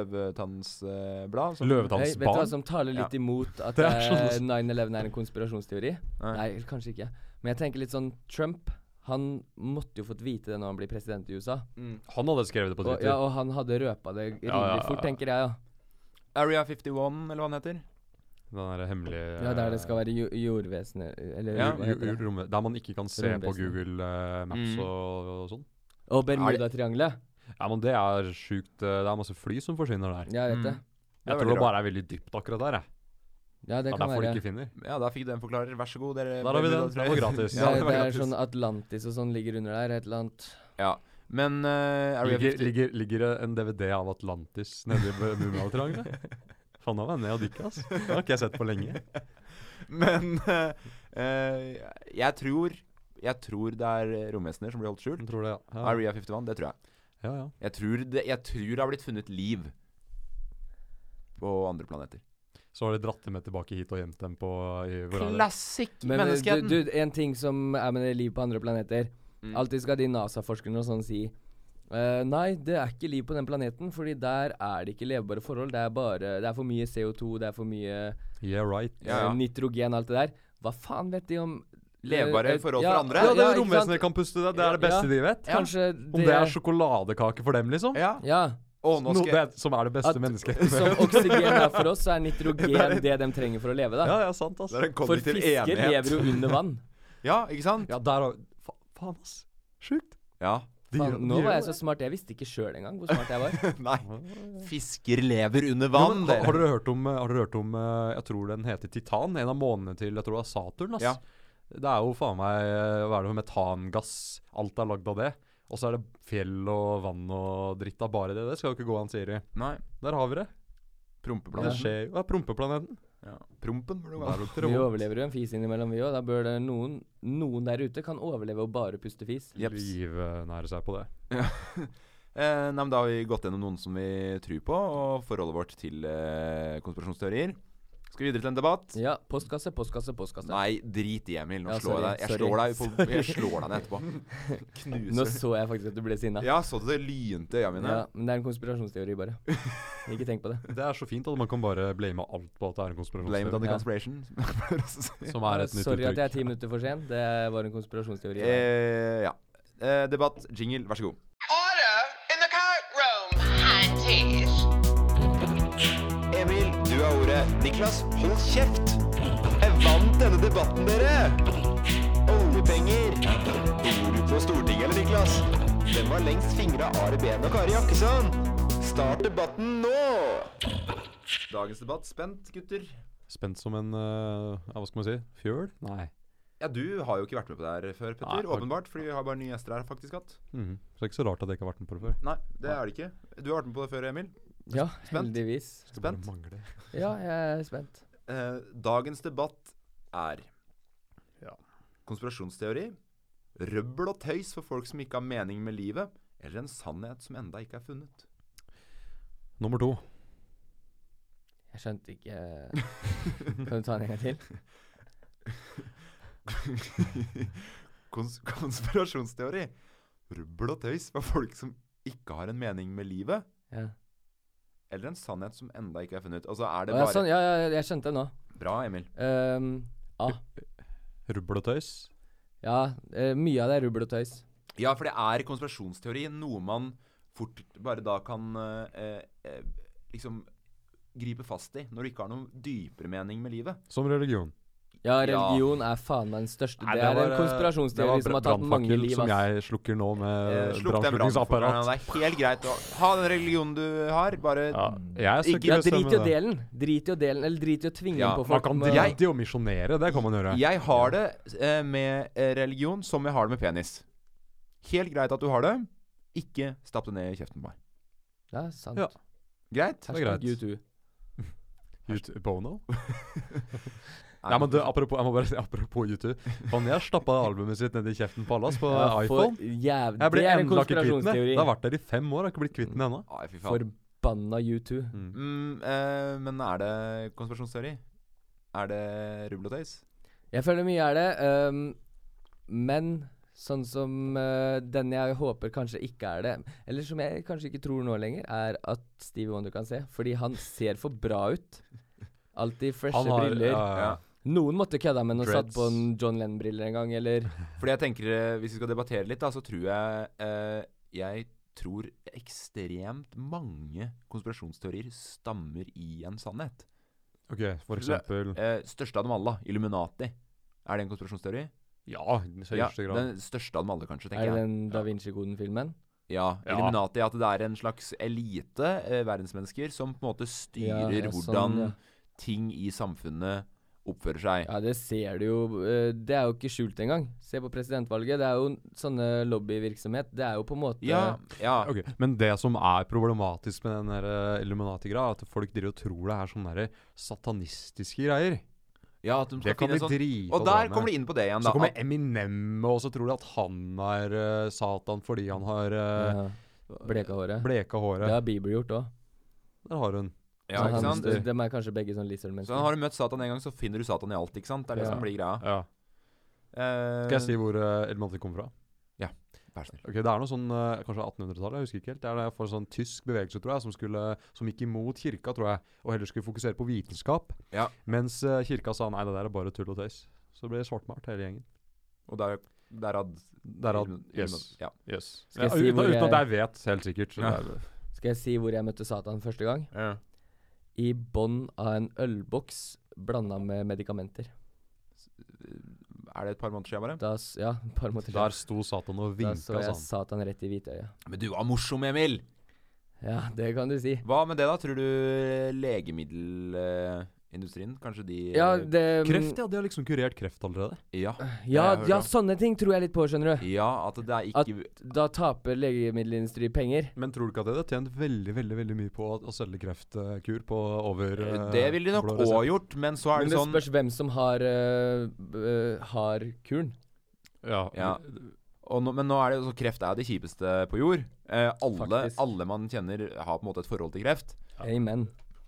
løvetannsblad. som- Hei, vet du hva Løvetannsbarn? som taler litt imot at Det er eh, sånn- 9-11 er en konspirasjonsteori? Nei. Nei, kanskje ikke. Men jeg tenker litt sånn Trump han måtte jo fått vite det når han blir president i USA. Han hadde skrevet det på Og, Twitter. ja, og han hadde røpa det rimelig Ja, ja, ja, fort, ja. tenker jeg. Ja. Area 51, eller hva den heter. Den der hemmelige ja, Der det skal være jo jordvesenet Eller Ja, hva heter det? rommet, Der man ikke kan se på Romvesenet. Google eh, Maps Mm. og, og sånn. Og Bermudatriangelet. Ja, men det er sjukt. eh, Det er masse fly som forsvinner der. Ja, jeg vet det. det er Jeg tror veldig det bare er veldig dypt akkurat der. Jeg. Ja, Det det er kan derfor de være. ikke finner. Ja, da fikk du en forklarer. Vær så god, dere. Der har vi den. Den var gratis. Det, Ja, det var det er gratis. sånn Atlantis og sånn ligger under der, et eller annet. sånn- Men eh, Area Ligger, 50 ligger, ligger det en DVD av Atlantis nedi Mummialtriangelet? Faen, da var jeg ned og dykka, ass. Det har ikke jeg sett på lenge. Men eh, eh, jeg tror Jeg tror det er romvesener som blir holdt skjult. Jeg tror det, ja. Area 51, det tror jeg. Ja, ja. Jeg tror det, jeg tror det har blitt funnet liv på andre planeter. Så har de dratt dem med tilbake hit og gjemt dem på i, hvor er det? Classic Men eh, du, menneskeheten! du, en ting som er med det liv på andre planeter Mm. Alltid skal de NASA-forskerne og sånn si eh, Nei, det er ikke liv på den planeten, fordi der er det ikke levbare forhold. Det er bare Det er for mye CO2, det er for mye Yeah, right. Ja, ja. eh, nitrogen, alt det der. Hva faen vet de om Levbare eh, forhold ja, for andre? Ja, det ikke romvesenet sant? kan puste det. Det er det beste Ja. de vet. Kanskje Om det er sjokoladekake for dem, liksom. ja. Ja. Å, nå Noe skal jeg det, som er det beste At- mennesket. Som oksygen er for oss, så er nitrogen det de trenger for å leve, da. Ja, ja, sant, ass. Det er en For kognitiv fisker enighet. lever jo under vann. Ja, ikke sant? Ja, der har fa Faen, ass. Sjukt. Ja. De Faen, gjør- de nå gjør var det. jeg så smart, jeg visste ikke sjøl engang hvor smart jeg var. Nei. Fisker lever under Ja, vann, men, har, har dere hørt om, eh, har dere hørt om eh, Jeg tror den heter Titan. En av månene til jeg tror det er Saturn. ass. Ja. Det er jo faen meg eh, Hva er det for metangass? Alt er lagd av det. Og så er det fjell og vann og dritt av bare det. Det skal jo ikke gå an, sier de. Nei. Der har vi det. Det Prompeplaneten. skjer jo. Ja, Prompeplaneten. Ja. Prompen, burde det Der være. er det Vi promp. overlever jo en fis innimellom, vi òg. Da bør det noen, noen der ute kan overleve og bare puste fis. Jeps. Livnære seg på det. Eh, nei, men da har vi gått gjennom noen som vi tror på, og forholdet vårt til eh, konspirasjonsteorier. Skal vi videre til en debatt? Ja, postkasse, postkasse, postkasse. Nei, drit i Emil. Nå Ja, slår jeg deg. Jeg slår sorry, deg, på, jeg slår deg ned etterpå. Nå Knuser. så jeg faktisk at du ble sinna. Ja, så du det lynte i øya mine? Ja, men det er en konspirasjonsteori, bare. Ikke tenk på det. Det er så fint at man kan bare blame alt på at det er en Blame it on konspirasjon. the conspiration. som Ja. jeg pleier å si. Som er et nytt Sorry at jeg er ti uttrykk. minutter for sen. Det var en konspirasjonsteori. eh, ja. Eh, debatt, jingle, vær så god. Order in the courtroom. Aunties. Emil, du har ordet. Niklas, hold kjeft! Jeg vant denne debatten, dere! Oljepenger. Bor du på Stortinget, eller, Niklas? Den var lengst fingra Are Behn og Kari Jakkesson. Start debatten nå! Dagens debatt. Spent, gutter. Spent som en eh, ja, Hva skal man si? Fjøl? Nei. Ja, du har jo ikke vært med på det her før, Petter. Nei, har- Åpenbart, fordi vi har bare nye gjester her, faktisk. hatt. Mhm. Så det er ikke så rart at jeg ikke har vært med på det før. Nei, det er det ikke. Du har vært med på det før, Emil. Ja, spent. heldigvis. Det bare Spent. mangler. Ja, jeg er spent. Eh, dagens debatt er Ja. konspirasjonsteori, røbbel og tøys for folk som ikke har mening med livet, eller en sannhet som enda ikke er funnet. Nummer to. Jeg skjønte ikke Kan du ta den en gang til? Kons konspirasjonsteori, røbbel og tøys for folk som ikke har en mening med livet, Ja. eller en sannhet som enda ikke er funnet. Altså, er det Å, ja, bare sånn, ja, ja, jeg skjønte det nå. Bra, Emil. Um, A. Rubbel og tøys. Ja, eh, mye av det er rubbel og tøys. Ja, for det er konspirasjonsteori noe man fort bare da kan eh, eh, liksom gripe fast i når du ikke har noen dypere mening med livet. Som religion. Ja, Ja. religion er faen meg den største Nei, Det er en var, eh, det konspirasjonsteori var som har tatt mange brannfakkel liv, ass. Som jeg slukker nå med Eh, eh, Slukk den brannfakkelen. brannslukningsapparat. Det er helt greit å ha den religionen du har, bare Ja, jeg skal ikke Ja, drit i å bestemme det. dele den. Drit i å dele den, eller drit i å tvinge Ja, den på Man folk. kan med- drite i å misjonere, det kan man gjøre. Jeg har det eh, med eh, religion som jeg har det med penis. Helt greit at du har det. Ikke stapp det ned i kjeften på meg. Ja, sant. Ja. Greit? er greit. Hashtag U2. Ut bono? Nei, men du, apropos, jeg må bare si apropos YouTube. Faen, jeg stappa albumet sitt ned i kjeften på alle, ass, på Ja, for iPhone. jæv- Jeg ble Det er en endelig ikke kvitt den. jeg. konspirasjonsteori. Det har vært der i fem år, jeg har ikke blitt kvitt den ennå. Ai, fy faen. Forbanna U2. Mm, eh, men er det konspirasjonsteori? Er det rubbel og tøys? Jeg føler mye er det, ehm, men sånn som eh, den jeg håper kanskje ikke er det, eller som jeg kanskje ikke tror nå lenger, er at Stevie Wonder kan se. Fordi han ser for bra ut. Alltid freshe Han har eh, briller. ja. Noen måtte kødda med og satt Dreads. på en John Lennon-briller en gang, eller Fordi jeg tenker, eh, hvis vi skal debattere litt, da, så tror jeg eh, Jeg tror ekstremt mange konspirasjonsteorier stammer i en sannhet. Ok, for eksempel Eh, største av dem alle, da, Illuminati. Er det en konspirasjonsteori? Ja, i høyeste grad. Den største av dem alle, kanskje, Er tenker det jeg. den Da Vinci-koden-filmen? Ja, Ja. Illuminati. At det er en slags elite eh, verdensmennesker som på en måte styrer Ja, ja, sånn, hvordan ja. ting i samfunnet oppfører seg. Ja, det ser du jo. eh, Det er jo ikke skjult engang. Se på presidentvalget. Det er jo n- sånne lobbyvirksomhet. Det er jo på en måte Ja, ja. Ok, Men det som er problematisk med den der, eh, Illuminati-greia, er at folk driver og tror det er sånne der satanistiske greier. ja at de skal Det kan finne bli en sånn drita Og der kommer de inn på det igjen, Så da. kommer at- Eminem, og så tror de at han er eh, Satan fordi han har eh, ja, Bleka håret. bleka Det håret. har Bieber gjort òg. Der har hun. ja, ikke sant? De er kanskje begge Så sånn lizard-mennesker. har du møtt Satan en gang, så finner du Satan i alt, ikke sant? Det er det Ja. som blir greia. Ja. Eh, Skal jeg si hvor uh, Illuminati kommer fra? Vær så snill. Ok, Det er noe sånn eh, kanskje 1800-tallet, jeg husker ikke helt. Det er det for sånn tysk bevegelse, tror jeg, som, skulle, som gikk imot kirka, tror jeg, og heller skulle fokusere på vitenskap. Ja. Mens eh, kirka sa nei, det der er bare tull og tøys. Så det ble svartmalt, hele gjengen. Og der, der had, Derav Yes. Ja. yes. Skal jeg Ja, si uten, hvor uten at jeg- jeg vet, helt sikkert. Så Ja. det er, Skal jeg si hvor jeg møtte Satan første gang? I bånn av en ølboks blanda med medikamenter. Er det et par måneder siden bare? Da, s- ja, et par måneder der sto Satan og Da vinka så jeg sånn. Satan rett i hvitøyet. Men du var morsom, Emil! Ja, det kan du si. Hva med det, da? Tror du eh, legemiddelindustrien Kanskje de eh, Ja, det mm, Kreft, ja. De har liksom kurert kreft allerede. Ja, Ja, Jeg hører ja, om. sånne ting tror jeg litt på, skjønner du. ja at det er ikke Da taper legemiddelindustri penger. Men tror du ikke at de hadde tjent veldig veldig, veldig mye på å, å selge kreftkur på over eh, Det ville de nok blå òg resept? gjort, men så er Men det det sånn spørs hvem som har, øh, øh, har kuren. Ja. Ja. og nå, Men nå er det jo så kreft er det kjipeste på jord. Eh, alle, Faktisk. alle man kjenner, har på en måte et forhold til kreft. Amen.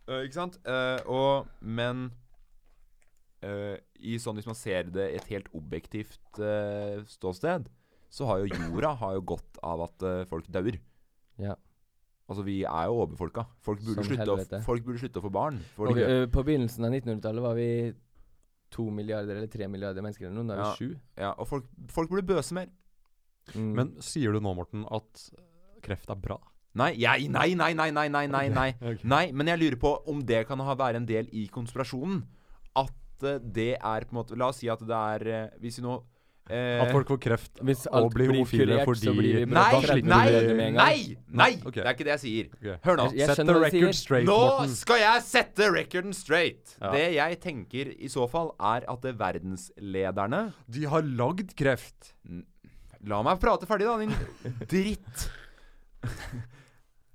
Eh, ikke sant? Eh, og, men eh, i sånn hvis man ser det i et helt objektivt eh, ståsted, så har jo jorda har jo godt av at eh, folk dauer. Ja. Altså, vi er jo overbefolka. Folk burde, Som slutte å, helvete. folk burde slutte å få barn. For Ok, de- øh, på begynnelsen av 1900-tallet var vi to milliarder eller tre milliarder mennesker eller noe. Nå er Ja. vi sju. ja, og folk, folk burde bøse mer. Mm. Men sier du nå, Morten, at kreft er bra? Nei, jeg, nei, nei, nei, nei, nei, nei, nei. Ok. nei. Men jeg lurer på om det kan ha være en del i konspirasjonen. At eh, det er på en måte La oss si at det er eh, Hvis vi nå eh, At folk får kreft Hvis og alt blir blir homofile kurert, så fordi blir vi bra. Nei, Da Da slipper nei, vi det med en gang. nei! Nei! Ok. Det er ikke det jeg sier. Ok. Hør nå. Jeg- jeg Set skjønner hva the du record sier. straight, Nå Morten. skal jeg sette recorden straight! Ja. Det jeg tenker i så fall, er at det verdenslederne De har lagd kreft. La meg prate ferdig, da, din dritt.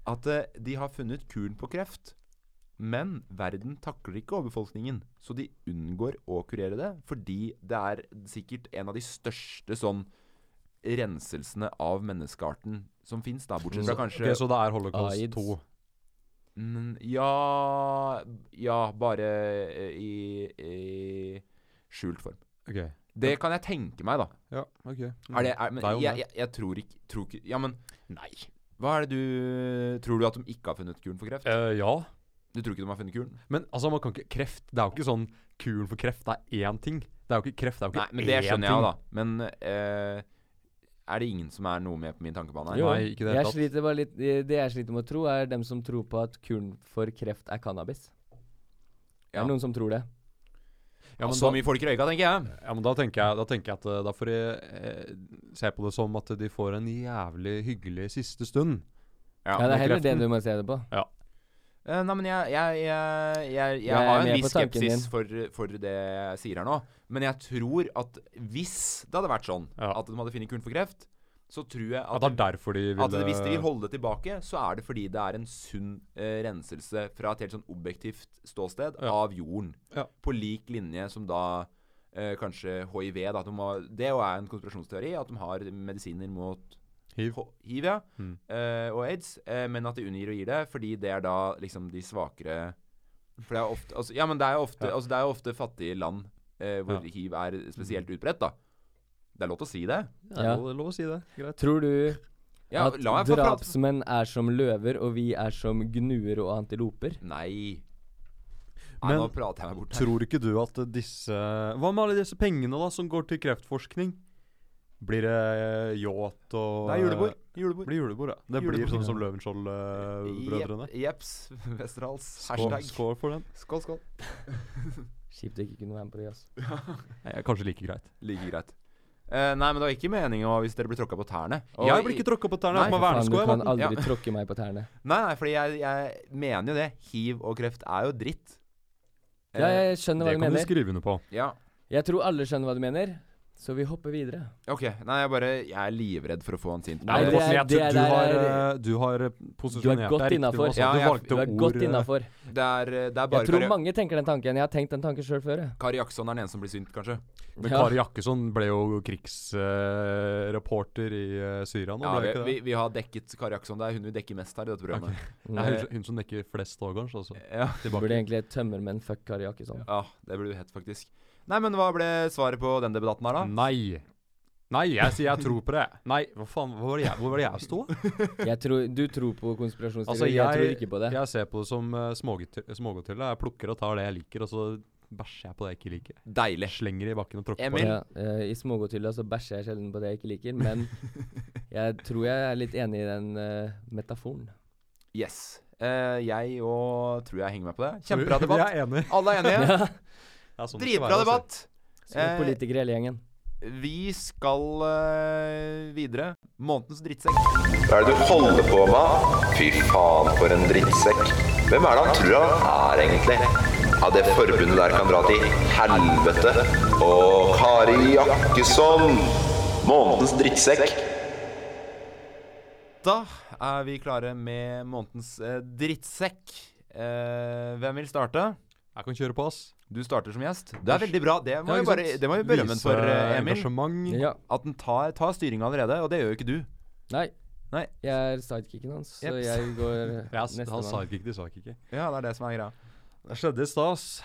At eh, de har funnet kuren på kreft. Men verden takler ikke overbefolkningen, så de unngår å kurere det. Fordi det er sikkert en av de største sånn renselsene av menneskearten som fins, da. Bortsett fra kanskje Ok, så det er holocaust AIDS. 2. Mm, Ja Ja, bare eh, i, i skjult form. Ok. Det kan jeg tenke meg, da. Ja, ok. Er det, er, men, Mm. Det er jo jeg, det. jeg, jeg tror ikke tror ikke- Ja, men Nei. Hva er det du Tror du at de ikke har funnet kuren for kreft? Eh, ja. Du tror ikke de har funnet kuren? Men altså, man kan ikke Kreft Det er jo ikke sånn kuren for kreft, det er én ting. Det er jo ikke kreft, det er jo Nei, ikke men det én skjønner jeg ting. jo, da. Men eh, er det ingen som er noe med på min tankebane her. Jo. Nei, ikke i det hele Jeg tatt. sliter bare litt Det jeg sliter med å tro, er dem som tror på at kuren for kreft er cannabis. Det Ja. er noen som tror det. Ja, men så da, mye folk røyka, tenker jeg. ja, men da tenker jeg, da tenker jeg at eh, da får de eh, se på det som at de får en jævlig hyggelig siste stund. Ja, Ja, det med er heller kreften. det du må se det på. Eh, nei, men jeg, jeg, jeg, jeg, jeg Jeg er har en med viss på tanken skepsis din. for, for det jeg sier her nå. Men jeg tror at hvis det hadde vært sånn Ja. at de hadde funnet kuren for kreft, så tror jeg At at, det er eh, derfor de ville at hvis de vil holde det tilbake, så er det fordi det er en sunn eh, renselse fra et helt sånn objektivt ståsted Ja. av jorden. Ja. På lik linje som da eh, kanskje hiv. Da, at de må, det jo er en konspirasjonsteori, at de har medisiner mot hiv. H- hiv, ja. Mm. eh, og aids. eh, men at de unngir å gi det, fordi det er da liksom de svakere For det er ofte altså, Ja, men det er jo ofte, Ja. altså, det er jo ofte fattige land eh, hvor Ja. hiv er spesielt utbredt, da. Det er lov til å si det. Ja, det er lov- lov å si det. Greit. Tror du Ja, at la meg få prate. drapsmenn er som løver, og vi er som gnuer og antiloper? Nei. Nei, Men nå prater jeg meg bort her. Tror ikke du at eh, disse Hva med alle disse pengene da som går til kreftforskning? Blir det eh, yacht og Det eh, er julebord. Det blir julebord, ja. Det blir Julebord. sånn som eh, Løvenskiold-brødrene. Jep- Jeps. Westerdals. Skål, Hashtag. skål for den. Skål, skål. Kjipt å ikke kunne være med på det. ass. Nei, kanskje like greit. Like greit. Eh, nei, men det var ikke meninga hvis dere blir tråkka på tærne. Og jeg blir i- ikke tråkka på tærne. Nei, Jeg har på for meg Faen, du vernesko. jeg, kan Morten. Ja. aldri tråkke meg på tærne. Nei, nei, fordi jeg, jeg mener jo det. Hiv og kreft er jo dritt. Ja, Eh, jeg skjønner hva Det du kan du mener. skrive under på. ja. Jeg tror alle skjønner hva du mener, så vi hopper videre. Ok. Nei, jeg bare Jeg er livredd for å få han sint. Nei, Eh, men det Morten, er- jeg det tror er- du, der har, er- eh, du har eh, Du er posisjonert godt riktig nå, innafor. altså. Ja, du jeg- valgte Du er godt ord, eh, innafor. det, er, eh, det er bare Jeg tror Kari, mange tenker den tanken. Jeg har tenkt den tanken sjøl før. jeg. Kari Jackson er den eneste som blir sint, kanskje. Men Ja. Kari Jakkesson ble jo krigsreporter i eh, Syria nå, Ja, ble vi, hun ikke vi, det? vi har dekket Kari Jackson. Det er hun vi dekker mest her i dette programmet. Det er hun, hun som dekker flest òg, kanskje. Altså. Ja. Du burde egentlig tømmermenn fuck Kari Jakkesson. ja, det burde du hett, faktisk. Nei, men hva ble svaret på den debatten Mm. her, da? Nei. Nei, jeg sier jeg tror på det. Nei, hva faen, hvor var det jeg, hvor var det jeg sto? Jeg tror, du tror på konspirasjonsteorier, Altså, jeg, tror ikke på det. Jeg ser på det som uh, smågodtølle. Jeg plukker og tar det jeg liker, og så bæsjer jeg på det jeg ikke liker. Deilig. Slenger det i bakken og tråkker på Emil? det. Ja, eh, I smågodthylla så bæsjer jeg sjelden på det jeg ikke liker, men jeg tror jeg er litt enig i den eh, metaforen. Yes. Eh, jeg og tror jeg henger meg på det. Kjempebra debatt. Jeg er enig. Alle er enige. Det er sånn det skal Dritbra være, altså. debatt. Som Eh, politiker i hele gjengen. Vi skal eh, videre. Månedens drittsekk. Hva er det du holder på med? Fy faen, for en drittsekk. Hvem er det han tror han er, egentlig? Ja, det forbundet der kan dra til helvete. Og Kari Jakkesson, månedens drittsekk. Da er vi klare med månedens eh, drittsekk. Eh, hvem vil starte? Jeg kan kjøre på, ass. Du starter som gjest. Det er veldig bra. Det må Ja, vi ikke bare sant? det må vi berømme den for, eh, Vise Emil. engasjement. Ja. At den tar, tar styringa allerede, og det gjør jo ikke du. Nei. Nei. Jeg er sidekicken hans, så Jeps. jeg går Ja, s- han sa nestemann. ikke de sa ikke. Ja, det er det som er greia. Det skjedde i stas.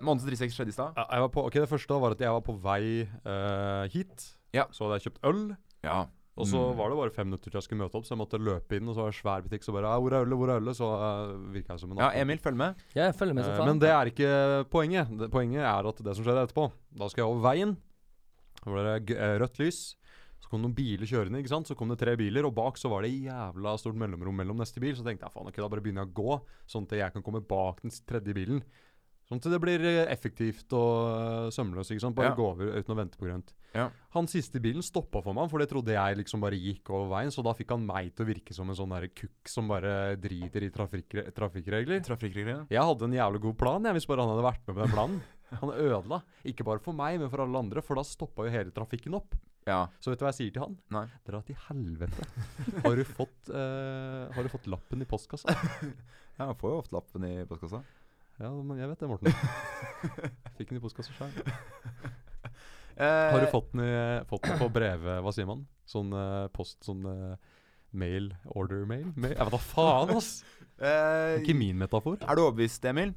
Månedens drittsekk skjedde i stad. Ja, Jeg var på, ok, Det første var at jeg var på vei eh, hit. Ja. Så hadde jeg kjøpt øl. Ja. Og så var det bare fem minutter til jeg skulle møte opp, så jeg måtte løpe inn. Og så var det en svær butikk, så bare «Ja, 'Hvor er ølet? Hvor er ølet?' Så uh, virka jeg som en Ja, ape. Emil, følg med. Ja, jeg følger med som Eh, faen. men det er ikke poenget. Det, poenget er at det som skjedde etterpå Da skal jeg over veien. Da var det g eh, rødt lys. Så kom det noen biler kjørende. ikke sant? Så kom det tre biler, og bak så var det jævla stort mellomrom mellom neste bil. Så tenkte jeg faen, ok, da bare begynner jeg å gå, sånn at jeg kan komme bak den s- tredje bilen. Sånn at det blir eh, effektivt og eh, sømløst. ikke sant? Bare Ja. gå over uten å vente på grønt. Ja. Han siste i bilen stoppa for meg, for det trodde jeg liksom bare gikk over veien. Så da fikk han meg til å virke som en sånn der kukk som bare driter i trafikkre trafikkregler. Trafikkregler. Jeg hadde en jævlig god plan, jeg, hvis bare han hadde vært med på den planen. Han ødela. Ikke bare for meg, men for alle andre, for da stoppa jo hele trafikken opp. Ja. Så vet du hva jeg sier til han? Nei. Dra til helvete. Har du fått, eh, har du fått lappen i postkassa? ja. Man får jo ofte lappen i postkassa. Ja, men jeg vet det, Morten. Fikk den i postkassa sjøl. Eh, Har du fått den, i, fått den på brevet Hva sier man? Sånn eh, post Sånn eh, mail? Order mail? mail? Jeg vet da faen, ass! Eh, Ikke min metafor. er du overbevist, Emil?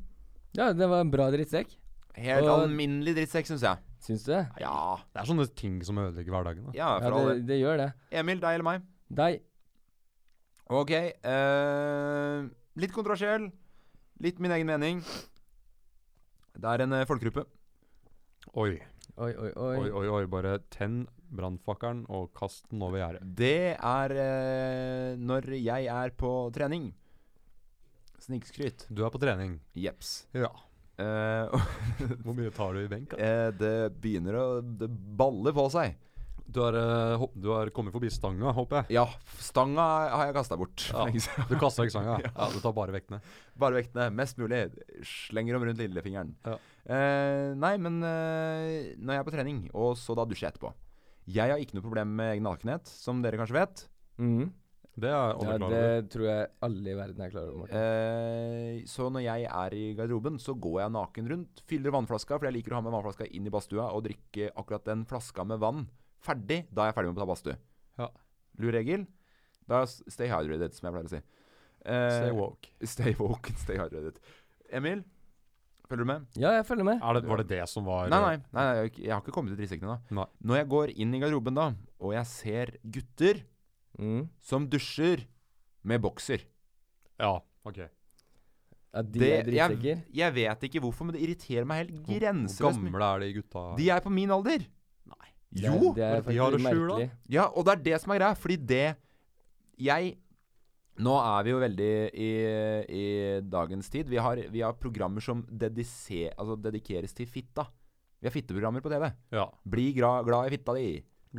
Ja, det var en bra drittsekk. Helt Og- alminnelig drittsekk, syns jeg. Syns du det? Ja. Det er sånne ting som ødelegger hverdagen. Da. ja, Ja, for all del. det, det gjør det. Emil, deg eller meg? Deg. Ok. eh, litt kontroversiell. Litt min egen mening. Det er en eh, folkegruppe. Oi. Oi, oi, oi. Oi, oi, oi, bare tenn brannfakkelen og kast den over gjerdet. Det er eh, når jeg er på trening. Snikskryt. Du er på trening. Jeps. Ja. Eh, Hvor mye tar du i benk? da? eh, det begynner å Det baller på seg. Du har, eh, hopp, du har kommet forbi stanga, håper jeg. Ja, stanga har jeg kasta bort. for Ja. lenge siden. Du kasta ikke stanga. Ja, du tar bare vektene. Bare vektene. Mest mulig. Slenger dem rundt lillefingeren. Ja. Eh, nei, men eh, når jeg er på trening, og så da dusjer jeg etterpå Jeg har ikke noe problem med egen nakenhet, som dere kanskje vet. Mhm. Det er alle Ja, klar over. det tror jeg alle i verden er klar over, Morten. Eh, så når jeg er i garderoben, så går jeg naken rundt, fyller vannflaska, for jeg liker å ha med vannflaska inn i badstua og drikke akkurat den flaska med vann ferdig da jeg er ferdig med å ta badstue. Ja. Lur regel? Da s- stay hydrated, som jeg pleier å si. Eh, Stay woke. Stay woke, stay hydrated. Emil, følger du med? Ja, jeg følger med. Er det, var det det som var Nei, nei, nei, nei jeg har ikke- jeg har ikke kommet til drittsekkene da. Nei. Når jeg går inn i garderoben da, og jeg ser gutter Mhm. som dusjer med bokser. Ja, OK. At de Det- er drittsekker? Jeg, jeg vet ikke hvorfor, men det irriterer meg helt Hvor- grenseløst. Hvor mye. gamle er de gutta? De er på min alder. Nei. Jo. det er de har faktisk det skjul, da. merkelig. Ja, og det er det som er greia, fordi det Jeg Nå er vi jo veldig i, i dagens tid. Vi har, vi har programmer som dedise, altså dedikeres til fitta. Vi har fitteprogrammer på TV. Ja. Bli gra, glad i fitta di.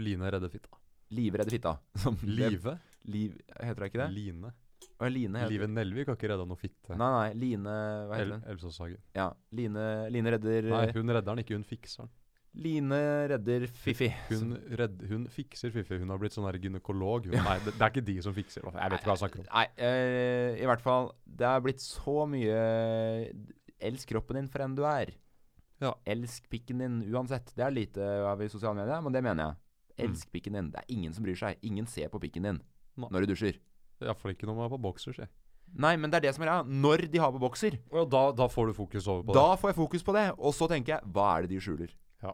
Line redder fitta. Livredde fitta. Som det- Live? Liv, heter det ikke det? Line. Å, Line heter Live Nelvik har ikke redda noe fitte. Nei, nei. Line Hva heter El den? Elvsåshagen. Ja. Line, Line redder Nei, hun redder den ikke, hun fikser den. Line redder Fifi. Hun, redd, hun fikser Fifi. Hun har blitt sånn her gynekolog. Hun, nei, det, det er ikke de som fikser. hva faen, Jeg vet ikke hva jeg snakker om. Nei, eh, i hvert fall Det er blitt så mye Elsk kroppen din for enn du er. Ja. Elsk pikken din uansett. Det er lite av i sosiale medier, men det mener Mm. jeg. Elsk pikken din. Det er ingen som bryr seg. Ingen ser på pikken din Nei. når du dusjer. Iallfall ikke når man er på bokser, si. Nei, men det er det som er greia. Når de har på bokser, Og da, da får du fokus over på da får jeg fokus på det. Og så tenker jeg hva er det de skjuler? Ja.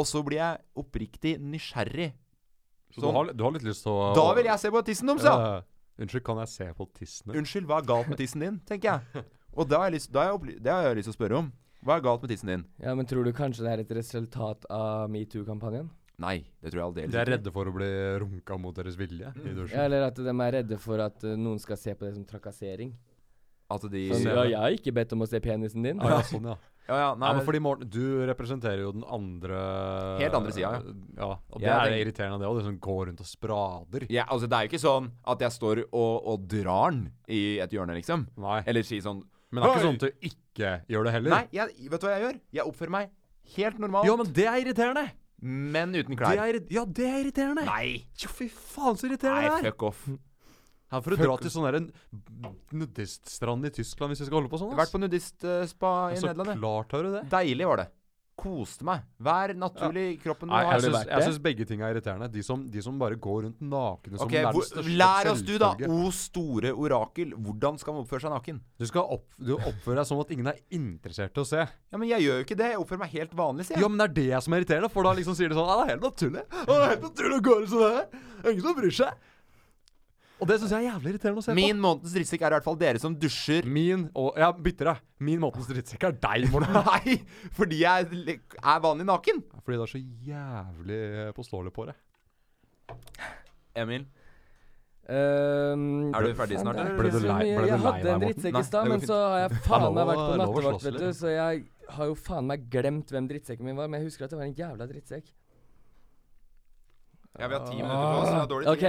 Og så blir jeg oppriktig nysgjerrig. det. Så du har, du har litt lyst til å sånn- Da vil jeg se på tissen deres, ja! Eh, Unnskyld, kan jeg se på tissene? Unnskyld, hva er galt med tissen din? tenker jeg. Og da har jeg lyst, da har jeg opply- det har jeg lyst til å spørre om. Hva er galt med tissen din? Ja, men tror du kanskje det er et resultat av metoo-kampanjen? Nei, det tror jeg aldeles De er redde for å bli runka mot deres vilje i Ja, dusjen. eller at de er redde for at eh, noen skal se på det som trakassering? At de Sånn, ser ja, det. jeg har ikke bedt om å se penisen din. Ah, ja, sånn, ja. Ja, ja, Nei, nei, men fordi Morten, du representerer jo den andre Helt andre sida, ja. ja. Og det Jeg er tenker- irriterende, det òg. Det som går rundt og sprader. ja, altså, Det er jo ikke sånn at jeg står og, og drar den i et hjørne, liksom. Nei. Eller sier sånn Men det er ikke «Oi!» sånn at du ikke gjør det heller. Nei, jeg, vet du hva jeg gjør? Jeg oppfører meg helt normalt, Ja, men det er irriterende! men uten Det klær. er, irri- ja, det er irriterende! Nei! Jo, fy faen, så Nei, irriterende det er! fuck off. Jeg Her får du dra til sånn der en nudiststrand i Tyskland hvis du skal holde på sånn. har vært på nudistspa i så Nederland. jeg. klart har du det. Altså, Deilig var det. Koste meg. Vær naturlig i kroppen du Nei, har. jeg syns, vært jeg det? syns begge ting er irriterende. De som, de som bare går rundt nakne som Ok, nærmest hvor, Lær oss du, da, o store orakel, hvordan skal man oppføre seg naken? Du skal opp, du oppføre deg som at ingen er interessert i å se. Ja, Men jeg gjør jo ikke det. Jeg oppfører meg helt vanlig, sier jeg. Ja, men det er det som er irriterende, for da liksom sier de sånn Ja, det er helt naturlig. Ja, det er helt naturlig å gå rundt sånn her. Det er ingen som bryr seg. Og det syns jeg er jævlig irriterende å se Min månedens drittsekk er i hvert fall dere som dusjer på. Min og Jeg bytter deg. Min måtens drittsekk er deg, Morten. Nei, fordi jeg er vanlig naken. Fordi det er så jævlig eh, påståelig på det. Emil, Ehm, er du ferdig snart? Faen, eller? det er Ble du så lei- mye. Jeg ble du Liksom, lei hadde deg, en Morten? drittsekk Nei, i stad, det men går så har jeg Det er faen lov meg vært å- på det er lov å nattevakt, slåss vet du. litt. Så jeg har jo faen meg glemt hvem drittsekken min var, men jeg husker at det var en jævla drittsekk. Ja, vi har ti minutter på oss. Det er dårlig OK,